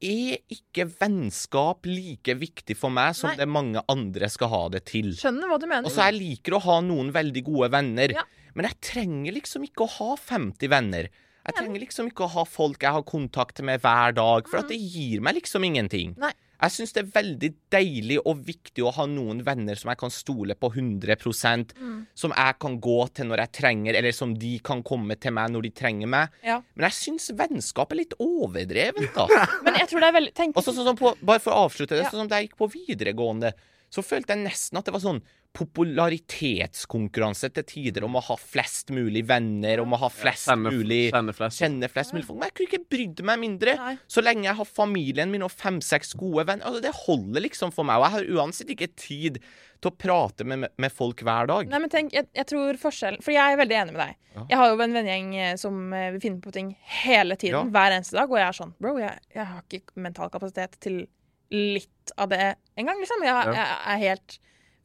Speaker 2: er ikke vennskap like viktig for meg som
Speaker 1: Nei.
Speaker 2: det mange andre skal ha det til.
Speaker 1: Skjønner hva du mener.
Speaker 2: Og så Altså, jeg liker å ha noen veldig gode venner,
Speaker 1: Ja.
Speaker 2: men jeg trenger liksom ikke å ha 50 venner. Jeg trenger liksom ikke å ha folk jeg har kontakt med hver dag, for at det gir meg liksom ingenting.
Speaker 1: Mm. Nei.
Speaker 2: Jeg syns det er veldig deilig og viktig å ha noen venner som jeg kan stole på 100
Speaker 1: Mm.
Speaker 2: som jeg kan gå til når jeg trenger, eller som de kan komme til meg når de trenger meg.
Speaker 1: Ja.
Speaker 2: Men jeg syns vennskap er litt overdrevent, altså.
Speaker 1: Men jeg tror det er veldig tenk,
Speaker 2: Og så, sånn som på, bare for å avslutte det,
Speaker 1: Ja.
Speaker 2: sånn som da jeg gikk på videregående, så følte jeg nesten at det var sånn popularitetskonkurranse til tider om å ha flest mulig venner, om å ha flest
Speaker 3: Kjenner,
Speaker 2: mulig
Speaker 3: kjenner flest.
Speaker 2: Kjenne flest mulig folk. Men jeg kunne ikke brydd meg mindre.
Speaker 1: Nei.
Speaker 2: Så lenge jeg har familien min og fem-seks gode venner. Altså, det holder liksom for meg. Og jeg har uansett ikke tid til å prate med, med folk hver dag.
Speaker 1: Nei, men tenk, jeg, jeg tror forskjellen For jeg er veldig enig med deg.
Speaker 2: Ja.
Speaker 1: Jeg har jo en vennegjeng eh, som eh, vil finne på ting hele tiden,
Speaker 2: Ja.
Speaker 1: hver eneste dag, og jeg er sånn Bro, jeg, jeg har ikke mental kapasitet til litt av det engang, liksom. Jeg,
Speaker 3: Ja.
Speaker 1: jeg er helt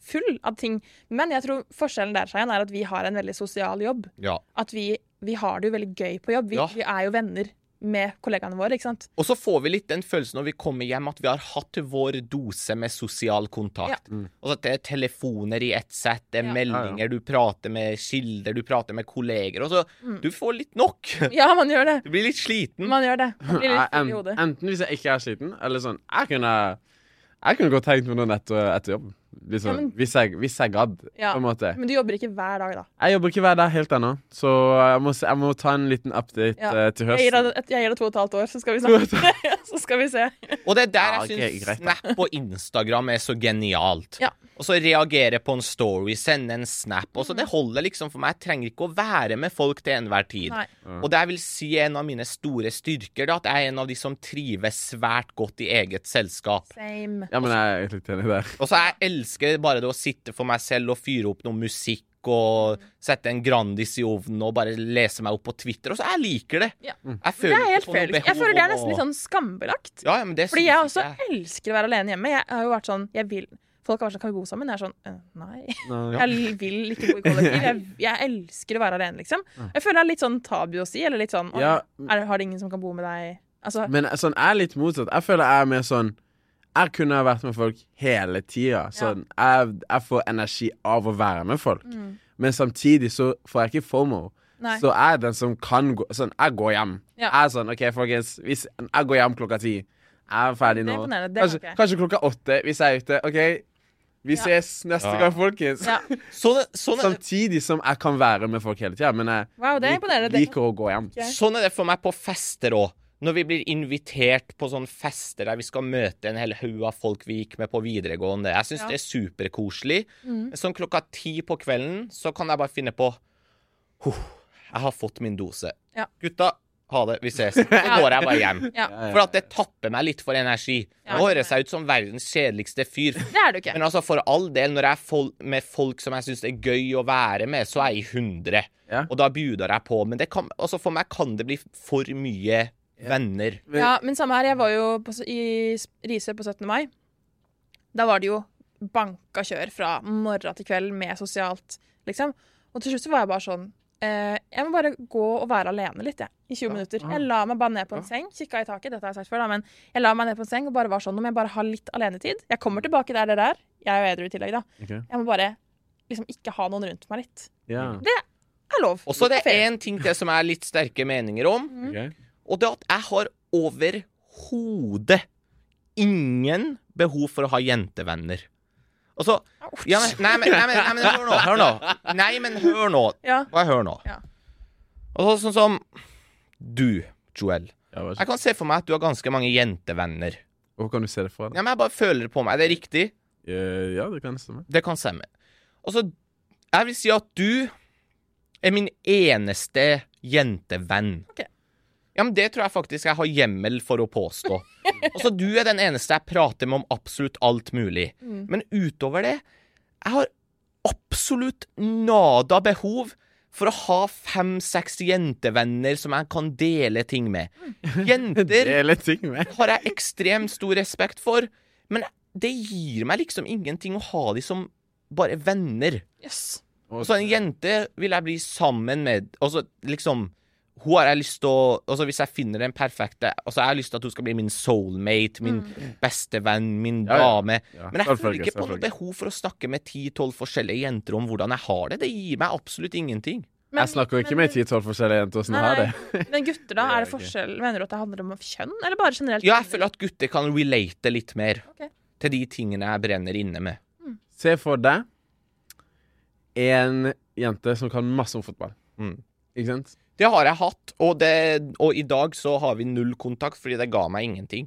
Speaker 1: full av ting. Men jeg tror forskjellen der Shayan, er at vi har en veldig sosial jobb.
Speaker 2: Ja.
Speaker 1: At vi, vi har det jo veldig gøy på jobb. Vi,
Speaker 2: Ja.
Speaker 1: vi er jo venner med kollegaene våre, ikke sant.
Speaker 2: Og så får vi litt den følelsen når vi kommer hjem at vi har hatt vår dose med sosial kontakt. Og at det er telefoner i ett sett, det er
Speaker 1: Mm. Ja.
Speaker 2: meldinger, du prater med kilder, du prater med kolleger. Og så
Speaker 1: Mm.
Speaker 2: Du får litt nok.
Speaker 1: Ja, man gjør det.
Speaker 2: Du blir litt sliten.
Speaker 1: Man gjør det. Man blir litt full i
Speaker 3: Jeg-
Speaker 1: hodet.
Speaker 3: en- Enten hvis jeg ikke er sliten, eller sånn Jeg kunne, jeg kunne godt tenkt meg noen etter, etter jobb. Litt sånn,
Speaker 1: Ja, men-
Speaker 3: hvis, jeg, hvis jeg gadd,
Speaker 1: Ja.
Speaker 3: på en måte.
Speaker 1: Men du jobber ikke hver dag, da.
Speaker 3: Jeg jobber ikke hver dag helt ennå, så jeg må, s- jeg må ta en liten update
Speaker 1: Ja.
Speaker 3: eh, til
Speaker 1: Jeg gir
Speaker 3: høsten.
Speaker 1: deg, jeg gir deg to og et halvt år, så skal vi snakke. så skal vi se.
Speaker 2: Og det er der
Speaker 3: Ja,
Speaker 2: jeg
Speaker 3: ok,
Speaker 2: syns
Speaker 3: greit, da.
Speaker 2: Snap og Instagram er så genialt.
Speaker 1: Ja.
Speaker 2: Og så reagere på en story, sende en snap. Og så
Speaker 1: Mm.
Speaker 2: Det holder liksom for meg. Jeg trenger ikke å være med folk til enhver tid.
Speaker 1: Nei.
Speaker 3: Mm.
Speaker 2: Og det jeg vil si er en av mine store styrker, da, at jeg er en av de som trives svært godt i eget selskap.
Speaker 1: Same.
Speaker 3: Ja, men jeg er litt enig der.
Speaker 2: Og så jeg elsker bare det å sitte for meg selv og fyre opp noe musikk. Og sette en Grandis i ovnen og bare lese meg opp på Twitter. Og så jeg liker det.
Speaker 1: Ja.
Speaker 2: Jeg
Speaker 1: Det
Speaker 2: føler
Speaker 1: er helt
Speaker 2: ikke på noe
Speaker 1: fair. liksom. Jeg
Speaker 2: behov
Speaker 1: føler det er
Speaker 2: om å-
Speaker 1: nesten litt sånn skambelagt.
Speaker 2: ja, ja, men det
Speaker 1: Fordi
Speaker 2: synes
Speaker 1: jeg
Speaker 2: ikke
Speaker 1: også elsker å være alene hjemme. Jeg har jo vært sånn, jeg vil Folk har vært sånn, kan vi bo sammen? Jeg er sånn, «Øh, nei. Jeg vil ikke bo i kollektiv. Jeg, jeg elsker å være alene, liksom. Jeg føler det er litt sånn tabu å si, eller litt sånn, «Å,
Speaker 3: Ja.
Speaker 1: er, har det ingen som kan bo med deg? Altså,
Speaker 3: Men sånn, jeg er litt motsatt. Jeg føler jeg er mer sånn Jeg kunne ha vært med folk hele tida. Sånn, jeg, jeg får energi av å være med folk. Men samtidig så får jeg ikke FOMO.
Speaker 1: Mm. Nei.
Speaker 3: Så jeg er den som kan gå Sånn, jeg går hjem.
Speaker 1: Ja.
Speaker 3: Jeg er sånn, OK, folkens. Hvis, jeg går hjem klokka ti. Jeg er ferdig
Speaker 1: Det er
Speaker 3: nå.
Speaker 1: imponerende, det
Speaker 3: Kanskje,
Speaker 1: kan ikke jeg.
Speaker 3: kanskje klokka åtte hvis jeg er ute. OK, vi
Speaker 1: Ja.
Speaker 3: ses neste
Speaker 2: Ja.
Speaker 3: gang, folkens.
Speaker 1: ja.
Speaker 2: Sånn, sånn, er det-
Speaker 3: Samtidig som jeg kan være med folk hele tida. Men jeg
Speaker 1: Wow, det er
Speaker 3: lik-
Speaker 1: imponerende. Det-
Speaker 3: liker å gå hjem.
Speaker 1: Ja.
Speaker 2: sånn er det for meg på fester òg. Når vi blir invitert på sånne fester der vi skal møte en hel haug av folk vi gikk med på videregående. Jeg syns
Speaker 1: Ja. Mm.
Speaker 2: det er superkoselig. Men Sånn klokka ti på kvelden så kan jeg bare finne på «Huh, Jeg har fått min dose.
Speaker 1: Ja.
Speaker 2: Gutta, ha det. Vi ses. Så
Speaker 1: Ja.
Speaker 2: går jeg bare hjem.
Speaker 1: Ja.
Speaker 2: For at det tapper meg litt for energi.
Speaker 1: Ja.
Speaker 2: Nå høres jeg ut som verdens kjedeligste fyr.
Speaker 1: Det er du ikke.
Speaker 2: Men altså, for all del, når jeg er fol med folk som jeg syns er gøy å være med, så er jeg i 100.
Speaker 3: Ja.
Speaker 2: Og da bjuder jeg på. Men det kan, altså for meg kan det bli for mye venner.
Speaker 3: Men-
Speaker 1: Ja, men samme her. Jeg var jo på, s- i s- Risør på 17. mai. Da var det jo banka kjør fra morgen til kveld med sosialt, liksom. Og til slutt så var jeg bare sånn eh, Jeg må bare gå og være alene litt, jeg. I 20 minutter. Jeg la meg bare ned på en seng, kikka i taket, dette har jeg sagt før, da, men jeg la meg ned på en seng og bare var sånn Nå må jeg bare ha litt alenetid. Jeg kommer
Speaker 2: Mm.
Speaker 1: tilbake der dere er. Jeg er jo edru i tillegg, da.
Speaker 3: Ok.
Speaker 1: Jeg må bare liksom ikke ha noen rundt meg litt.
Speaker 3: Ja.
Speaker 1: Det er lov.
Speaker 2: Og så er det
Speaker 1: Fair.
Speaker 2: én ting til som jeg har litt sterke meninger om,
Speaker 3: Ok.
Speaker 2: og det er at jeg har overhodet ingen behov for å ha jentevenner. Altså ja, men, nei, men, nei, men, nei, men hør nå. Hør nå. Nei, men hør nå.
Speaker 1: Ja.
Speaker 2: Bare hør nå.
Speaker 1: Ja.
Speaker 2: Og så, sånn som du, Joel.
Speaker 3: Ja, vær så-
Speaker 2: Jeg kan se for meg at du har ganske mange jentevenner.
Speaker 3: Hvor kan du se det fra? Da?
Speaker 2: Ja, men jeg bare føler det på meg. Det er riktig.
Speaker 3: Eh, ja, det kan stemme.
Speaker 2: Det kan stemme. Altså, jeg vil si at du er min eneste jentevenn.
Speaker 1: Ok.
Speaker 2: Ja, men Det tror jeg faktisk jeg har hjemmel for å påstå. altså, Du er den eneste jeg prater med om absolutt alt mulig.
Speaker 1: Mm.
Speaker 2: Men utover det, jeg har absolutt nada behov for å ha fem-seks jentevenner som jeg kan dele ting med.
Speaker 1: Mm.
Speaker 2: Jenter
Speaker 3: Dele ting med.
Speaker 2: har jeg ekstremt stor respekt for, men det gir meg liksom ingenting å ha de som bare venner.
Speaker 1: Yes.
Speaker 2: Og så en jente vil jeg bli sammen med, og så liksom hun har jeg lyst til å altså Hvis jeg finner den perfekte altså Jeg har lyst til at hun skal bli min soulmate, min beste venn, min
Speaker 3: Mm. Ja, ja.
Speaker 2: dame.
Speaker 3: Ja,
Speaker 2: Men jeg føler
Speaker 3: selvfølgelig,
Speaker 2: ikke på noe
Speaker 3: selvfølgelig.
Speaker 2: behov for å snakke med 10-12 forskjellige jenter om hvordan jeg har det. Det gir meg absolutt ingenting.
Speaker 1: Men-
Speaker 3: jeg snakker jo ikke med ti-tolv forskjellige jenter som har det.
Speaker 1: Nei, Men gutter, da? Er det
Speaker 3: Det gjør jeg
Speaker 1: forskjell? Mener du at det handler om kjønn, eller bare generelt?
Speaker 2: Ja, jeg føler at gutter kan relate litt mer
Speaker 1: Ok.
Speaker 2: til de tingene jeg brenner inne med.
Speaker 3: Se for deg en jente som kan masse om fotball.
Speaker 2: Mm.
Speaker 3: Ikke sant?
Speaker 2: Det har jeg hatt, og, det, og i dag så har vi null kontakt fordi det ga meg ingenting.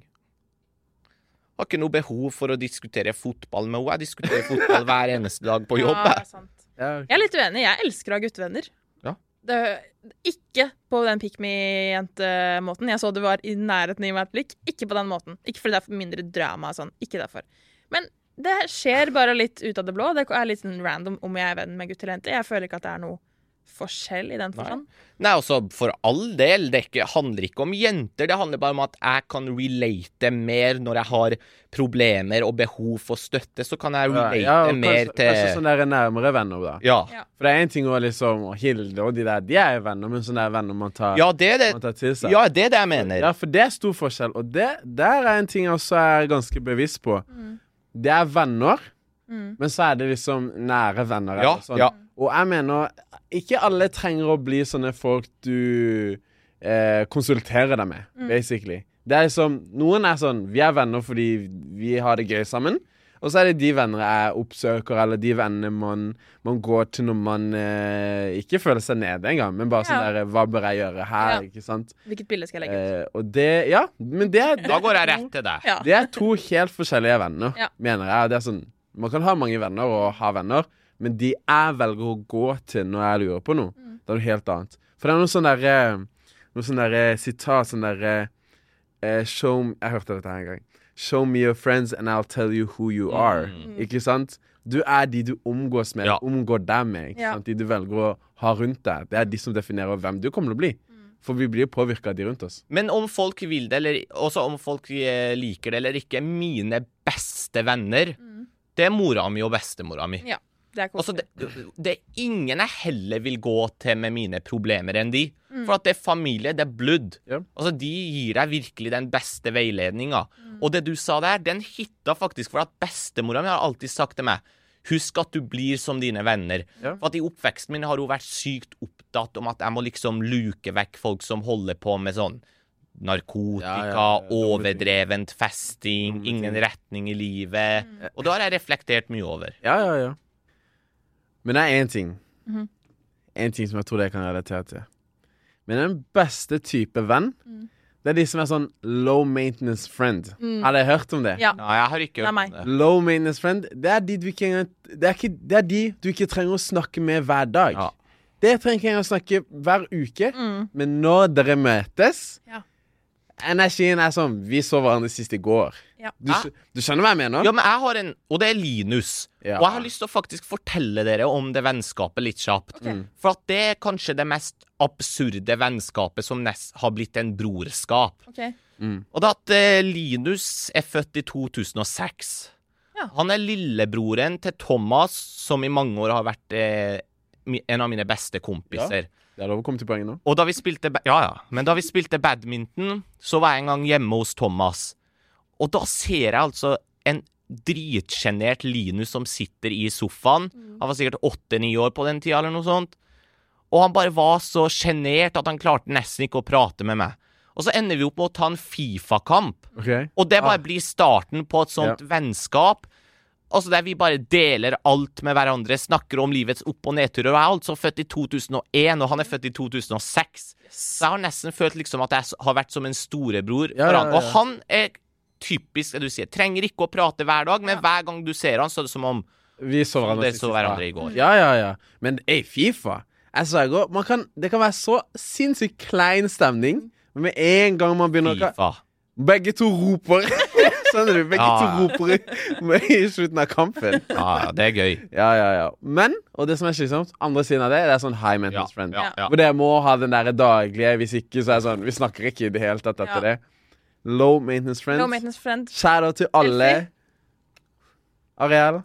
Speaker 2: Har ikke noe behov for å diskutere fotball med henne. Jeg diskuterer fotball hver eneste dag på jobb.
Speaker 1: Ja, det
Speaker 2: jeg.
Speaker 1: er sant. Jeg er litt uenig. Jeg elsker å ha guttevenner.
Speaker 2: Ja.
Speaker 1: Det, ikke på den pick me-jente-måten. Jeg så du var i nærheten i hvert blikk. Ikke på den måten. Ikke fordi det er mindre drama og sånn. Ikke derfor. Men det skjer bare litt ut av det blå. Det er litt sånn random om jeg er venn med gutt eller jente. Jeg føler ikke at det er noe forskjell i den forstand.
Speaker 2: Nei, altså, for all del, det er ikke, handler ikke om jenter. Det handler bare om at jeg kan relate mer når jeg har problemer og behov for støtte. Så kan jeg relate
Speaker 3: Ja, og
Speaker 2: mer
Speaker 3: kanskje, kanskje
Speaker 2: til
Speaker 3: sånn der nærmere venner, da.
Speaker 2: ja.
Speaker 1: Ja.
Speaker 3: For det er én ting å liksom og Hilde og de der, de er jo venner, men sånne der venner man tar,
Speaker 2: ja, det er det,
Speaker 3: man tar til seg.
Speaker 2: ja, det er det jeg mener.
Speaker 3: Ja, for det er stor forskjell, og det der er en ting jeg også er ganske bevisst på. Det er venner,
Speaker 1: Mm.
Speaker 3: men så er det liksom nære venner. eller
Speaker 2: Ja,
Speaker 3: sånn.
Speaker 2: ja.
Speaker 3: Og jeg mener, ikke alle trenger å bli sånne folk du eh, konsulterer deg med,
Speaker 1: Mm.
Speaker 3: basically. Det er liksom, noen er sånn, vi er venner fordi vi har det gøy sammen, og så er det de venner jeg oppsøker, eller de venner man, man går til når man eh, ikke føler seg nede engang, men bare sånn
Speaker 1: Ja.
Speaker 3: der, hva bør jeg gjøre her,
Speaker 1: Ja.
Speaker 3: ikke sant?
Speaker 1: Hvilket bilde skal jeg legge ut?
Speaker 3: Eh, og det Ja, men det, det,
Speaker 2: Da går jeg rett til deg.
Speaker 1: Ja.
Speaker 3: Eh, det er to helt forskjellige venner,
Speaker 1: Ja.
Speaker 3: mener jeg. Det er sånn, man kan ha mange venner og ha venner, men de jeg velger å gå til når jeg lurer på noe,
Speaker 1: Mm.
Speaker 3: det er noe helt annet. For det er noe sånn derre Noe sånn derre sitat sånn derre eh, Show Jeg hørte dette her en gang. Show me your friends and I'll tell you who you are.
Speaker 1: Mm,
Speaker 3: Ikke sant? Du er de du omgås med,
Speaker 2: Ja.
Speaker 3: omgår deg med. Ikke
Speaker 1: Ja. Mm.
Speaker 3: sant? De du velger å ha rundt deg. Det er de som definerer hvem du kommer til å bli. For vi blir påvirka av de rundt oss.
Speaker 2: Men om folk vil det, eller også om folk eh, liker det eller ikke, mine beste venner, det er mora mi og bestemora mi.
Speaker 1: Ja, det er
Speaker 2: Altså,
Speaker 1: koselig.
Speaker 2: det, det er ingen jeg heller vil gå til med mine problemer enn de.
Speaker 1: Mm.
Speaker 2: For at det er familie, det er blood.
Speaker 3: Ja.
Speaker 2: Altså, de gir deg virkelig den beste veiledninga.
Speaker 1: Mm.
Speaker 2: Og det du sa der, den hitta faktisk for at bestemora mi har alltid sagt til meg Husk at du blir som dine venner.
Speaker 3: Ja.
Speaker 2: For at I oppveksten min har hun vært sykt opptatt om at jeg må liksom luke vekk folk som holder på med sånn narkotika,
Speaker 3: Ja, ja, ja, dumme ting.
Speaker 2: overdrevent festing,
Speaker 3: Dumme ting.
Speaker 2: ingen retning i livet.
Speaker 1: Mm.
Speaker 2: Og det har jeg reflektert mye over.
Speaker 3: Ja, ja, ja. Men det er én ting.
Speaker 1: Mhm.
Speaker 3: En ting som jeg tror dere kan relatere til. Men den beste type venn,
Speaker 1: Mm.
Speaker 3: det er de som er sånn low maintenance friend. Har dere hørt om det?
Speaker 1: Ja.
Speaker 2: Nei, jeg har ikke
Speaker 1: Det er meg.
Speaker 2: det.
Speaker 3: Low maintenance friend, det er de du ikke engang det er, ikke, det er de du ikke trenger å snakke med hver dag.
Speaker 2: Ja.
Speaker 3: Det trenger ikke engang å snakke hver uke, men når dere
Speaker 1: Mm.
Speaker 3: møtes
Speaker 1: Ja.
Speaker 3: Energien er sånn Vi så hverandre sist i går.
Speaker 1: Ja.
Speaker 3: Du, skj- du skjønner hva jeg mener?
Speaker 2: Ja, men jeg har en, og det er Linus.
Speaker 3: Ja.
Speaker 2: Og jeg har lyst til å faktisk fortelle dere om det vennskapet litt kjapt. For at det er kanskje det mest absurde vennskapet som nest har blitt en brorskap.
Speaker 1: Ok.
Speaker 3: Mm.
Speaker 2: Og det er at eh, Linus er født i 2006.
Speaker 1: Ja.
Speaker 2: Han er lillebroren til Thomas, som i mange år har vært eh, mi- en av mine beste kompiser.
Speaker 3: Det er lov å komme til poenget nå.
Speaker 2: Og da vi spilte ba- Ja, ja. Men da vi spilte badminton, så var jeg en gang hjemme hos Thomas. Og da ser jeg altså en dritsjenert Linus som sitter i sofaen. Han var sikkert åtte-ni år på den tida, eller noe sånt. Og han bare var så sjenert at han klarte nesten ikke å prate med meg. Og så ender vi opp med å ta en Fifa-kamp.
Speaker 3: Ok?
Speaker 2: Og det
Speaker 3: Ah.
Speaker 2: bare blir starten på et sånt vennskap. Altså Der vi bare deler alt med hverandre, snakker om livets opp- og nedturer. Og jeg er altså født i 2001, og han er født i 2006. Så jeg har nesten følt liksom at jeg s- har vært som en storebror.
Speaker 3: Ja,
Speaker 2: for
Speaker 3: ja,
Speaker 2: han.
Speaker 3: ja,
Speaker 2: Og
Speaker 3: ja.
Speaker 2: han er typisk det du sier. Trenger ikke å prate hver dag, men hver gang du ser han, så er det som om
Speaker 3: Vi så hverandre,
Speaker 2: dere
Speaker 3: sist
Speaker 2: så
Speaker 3: i
Speaker 2: hverandre
Speaker 3: stad.
Speaker 2: i går.
Speaker 3: Ja, ja, ja. Men ey, Fifa Altså, Jeg sa i går man kan, Det kan være så sinnssykt klein stemning, men med en gang man begynner å
Speaker 2: Fifa.
Speaker 3: Begge to roper. Skjønner du? Begge
Speaker 2: Ja, ja.
Speaker 3: to roper i- med- i slutten av kampen.
Speaker 2: Ja, ja, det er gøy.
Speaker 3: Ja, ja, ja. Men, og det som er slitsomt, andre siden av det, det er sånn high
Speaker 2: Ja,
Speaker 3: maintenance friend.
Speaker 2: ja, ja.
Speaker 3: Hvor dere må ha den derre daglige Hvis ikke, så er det sånn Vi snakker ikke i det hele tatt
Speaker 1: Ja.
Speaker 3: etter det. Low maintenance friends.
Speaker 1: No maintenance friend.
Speaker 3: Shout out til alle.
Speaker 1: Elfie.
Speaker 3: Ariel.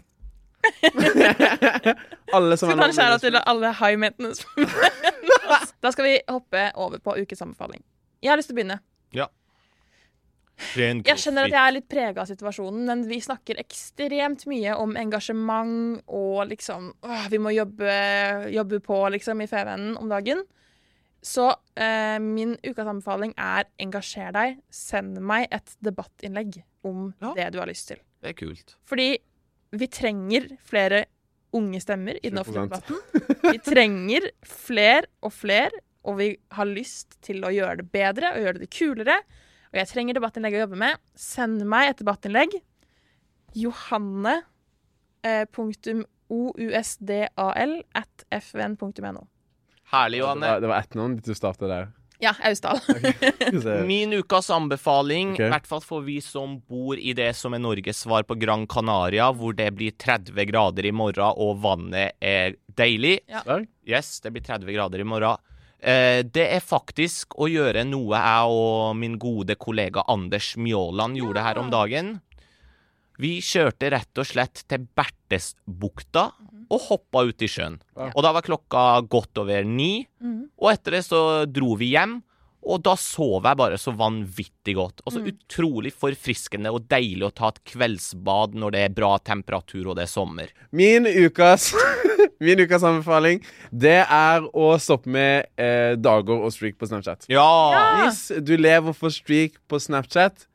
Speaker 3: Alle som
Speaker 1: Skal vi ta en kjære til
Speaker 3: nominert.
Speaker 1: alle high maintenance Da skal vi hoppe over på ukens anbefaling. Jeg har lyst til å begynne. Jeg skjønner at jeg er litt prega av situasjonen, men vi snakker ekstremt mye om engasjement og liksom åh, Vi må jobbe, jobbe på, liksom, i FVN om dagen. Så eh, min ukas anbefaling er engasjer deg. Send meg et debattinnlegg om
Speaker 2: Ja.
Speaker 1: det du har lyst til.
Speaker 2: Det er kult.
Speaker 1: Fordi vi trenger flere unge stemmer i den offentlige
Speaker 3: 20%.
Speaker 1: debatten. Vi trenger flere og flere, og vi har lyst til å gjøre det bedre og gjøre det kulere. Og jeg trenger debattinnlegg å jobbe med. Send meg et debattinnlegg. Johanne eh, punktum ousdal at fvn.no.
Speaker 2: Herlig,
Speaker 3: Det
Speaker 2: Johanne.
Speaker 3: var- Det var ett navn du starta der.
Speaker 1: Ja, Austdal.
Speaker 3: Så-
Speaker 2: Min ukas anbefaling,
Speaker 3: Ok.
Speaker 2: i hvert fall for vi som bor i det som er Norges svar på Gran Canaria, hvor det blir 30 grader i morgen og vannet er deilig.
Speaker 3: Dag?
Speaker 2: Yes, det blir 30 grader i morgen. Eh, det er faktisk å gjøre noe jeg og min gode kollega Anders Mjåland gjorde her om dagen. Vi kjørte rett og slett til Bertesbukta og hoppa ut i sjøen.
Speaker 3: Ja.
Speaker 2: Og da var klokka godt over ni,
Speaker 1: Mhm.
Speaker 2: og etter det så dro vi hjem. Og da sov jeg bare så vanvittig godt. Og så utrolig forfriskende og deilig å ta et kveldsbad når det er bra temperatur og det er sommer.
Speaker 3: Min ukas, min ukas anbefaling Det er å stoppe med eh, dager og streak på Snapchat.
Speaker 2: Ja!
Speaker 3: Hvis du lever for streak på Snapchat,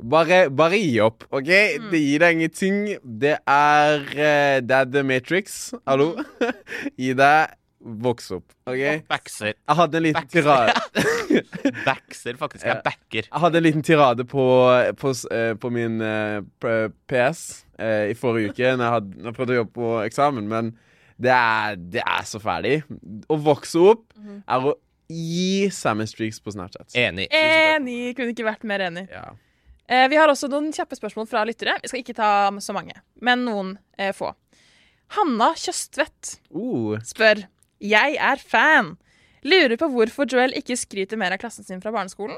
Speaker 3: bare, bare gi opp. ok?
Speaker 1: Mm.
Speaker 3: Det gir deg ingenting. Det er eh, Det er The Matrix. Hallo?
Speaker 1: Mm.
Speaker 3: Gi deg Voks opp, OK? Jeg
Speaker 2: Vekser.
Speaker 3: hadde en liten
Speaker 2: Vekser.
Speaker 3: tirade
Speaker 2: Vekser, faktisk. Jeg backer.
Speaker 3: Jeg hadde en liten tirade på, på, s- eh, på min eh, p- PS eh, i forrige uke når jeg, hadde, når jeg prøvde å jobbe på eksamen, men det er, det er så ferdig. Å vokse opp er å gi seg med streaks på Snapchat.
Speaker 2: Enig.
Speaker 1: Eh. Enig! Kunne ikke vært mer enig.
Speaker 3: Ja.
Speaker 1: Eh, vi har også noen kjappe spørsmål fra lyttere. Vi skal ikke ta så mange, men noen eh, få. Hanna Tjøstvedt
Speaker 3: Uh,
Speaker 1: spør Jeg er fan. Lurer på hvorfor Joel ikke skryter mer av klassen sin fra barneskolen.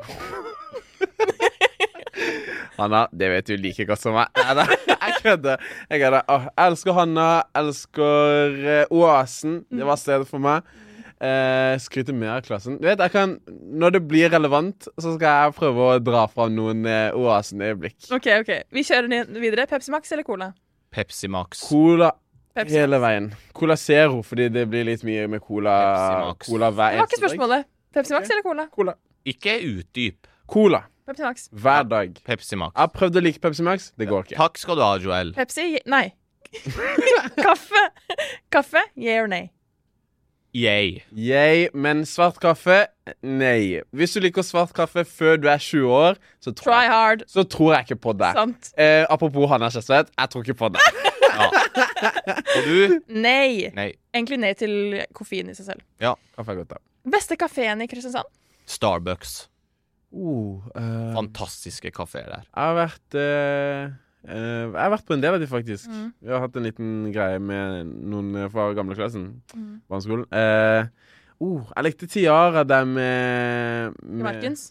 Speaker 3: Hanna, det vet du like godt som meg. Neida, Jeg kødder. Jeg kødder. Åh, jeg elsker Hanna. Elsker eh, Oasen. Det var stedet for meg. Eh, skryte mer av klassen. Du vet, jeg kan, når det blir relevant, så skal jeg prøve å dra fram noen eh, Oasen-øyeblikk.
Speaker 1: Ok, ok. Vi kjører ned- videre. Pepsi Max eller Cola?
Speaker 2: Pepsi Max.
Speaker 3: Cola
Speaker 1: Pepsi
Speaker 3: hele
Speaker 1: Max.
Speaker 3: veien. Cola Zero, fordi det blir litt mye med cola,
Speaker 2: Pepsi Max.
Speaker 3: cola hver
Speaker 1: Det var ikke
Speaker 3: eneste dag.
Speaker 1: spørsmålet. Pepsi Max eller Cola?
Speaker 3: Cola.
Speaker 2: Ikke utdyp.
Speaker 3: cola
Speaker 1: Pepsi Max.
Speaker 3: hver dag.
Speaker 2: Pepsi Max.
Speaker 3: Jeg har prøvd å like Pepsi Max. Det går ikke.
Speaker 2: Takk skal du ha, Joel.
Speaker 1: Pepsi? Nei. Kaffe? Kaffe? Yeah or nay?
Speaker 2: Yay.
Speaker 3: Yay, men svart kaffe? Nei. Hvis du liker svart kaffe før du er 20 år, så tror,
Speaker 1: Try
Speaker 3: jeg,
Speaker 1: hard.
Speaker 3: så tror jeg ikke på det.
Speaker 1: Sant.
Speaker 3: Eh, apropos Hanna Kjøstvedt, jeg tror ikke på det.
Speaker 2: Ja. Og du?
Speaker 1: Nei.
Speaker 2: Nei.
Speaker 1: Egentlig nei til koffein i seg selv.
Speaker 3: Kaffe er godt, da.
Speaker 1: Beste kafeen i Kristiansand?
Speaker 2: Starbucks.
Speaker 3: Uh, eh,
Speaker 2: Fantastiske kafeer der.
Speaker 3: Jeg har vært eh, eh, Jeg har vært på en del av de faktisk.
Speaker 1: Mm.
Speaker 3: Vi har hatt en liten greie med noen eh, fra gamle klassen.
Speaker 1: Mm.
Speaker 3: Barneskolen. Eh, oh, jeg likte Tiara, den med,
Speaker 1: I
Speaker 3: med
Speaker 1: Markens?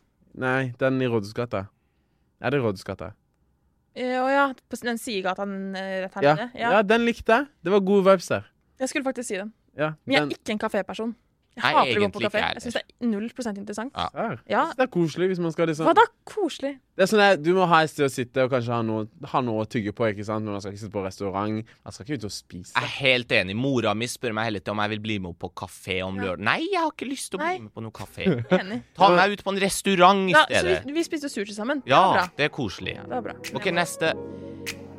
Speaker 3: Nei, den i Rådhusgata. Er det Rådhusgata?
Speaker 1: Eh, Å ja, på den sidegata den, eh, rett her
Speaker 3: Ja.
Speaker 1: nede.
Speaker 3: ja,
Speaker 1: Ja.
Speaker 3: den likte jeg. Det var gode vibes der.
Speaker 1: Jeg skulle faktisk si den.
Speaker 3: Ja,
Speaker 1: Men jeg
Speaker 3: den
Speaker 1: er ikke en kaféperson. Jeg
Speaker 2: Nei,
Speaker 1: hater å gå på
Speaker 2: egentlig ikke
Speaker 1: kafé.
Speaker 2: jeg
Speaker 1: Jeg syns det er null prosent interessant.
Speaker 2: Ja.
Speaker 3: her.
Speaker 1: Ja.
Speaker 3: Det er koselig hvis man skal liksom
Speaker 1: Hva da? Koselig.
Speaker 3: Det er sånn der, Du må ha et sted å sitte og kanskje ha noe, ha noe å tygge på, ikke sant? men man skal ikke sitte på restaurant. Man skal ikke ut og spise.
Speaker 2: Jeg er helt enig. Mora mi spør meg hele tiden om jeg vil bli med opp på kafé om
Speaker 1: Ja.
Speaker 2: lørdag. Nei, jeg har ikke lyst til å
Speaker 1: Nei.
Speaker 2: bli med på noe kafé.
Speaker 1: Enig.
Speaker 2: Ta meg ut på en restaurant i
Speaker 1: Ja, så
Speaker 2: stedet.
Speaker 1: vi, vi spiste jo sushi sammen. Det var
Speaker 2: Ja,
Speaker 1: bra.
Speaker 2: det er koselig.
Speaker 1: Det var bra.
Speaker 2: OK, neste.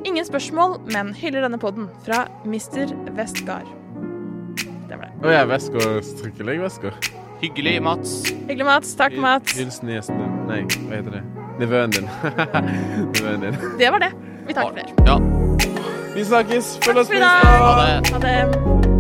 Speaker 1: Ingen spørsmål, men hyller denne podden fra Mr. Westgard. Det var det.
Speaker 3: Å ja, vesker. Strikkelegg vesker.
Speaker 2: Hyggelig, Mats.
Speaker 1: Hyggelig, Mats. Takk, Mats.
Speaker 3: Hilsen gjesten din. Nei, hva heter det? Nevøen din. Nevøen din.
Speaker 1: Det var det. Vi takker flere.
Speaker 2: Ja,
Speaker 3: Vi snakkes. Følg oss
Speaker 1: for i
Speaker 3: på
Speaker 1: dag.
Speaker 3: Insta.
Speaker 2: ha det.
Speaker 1: Ha det.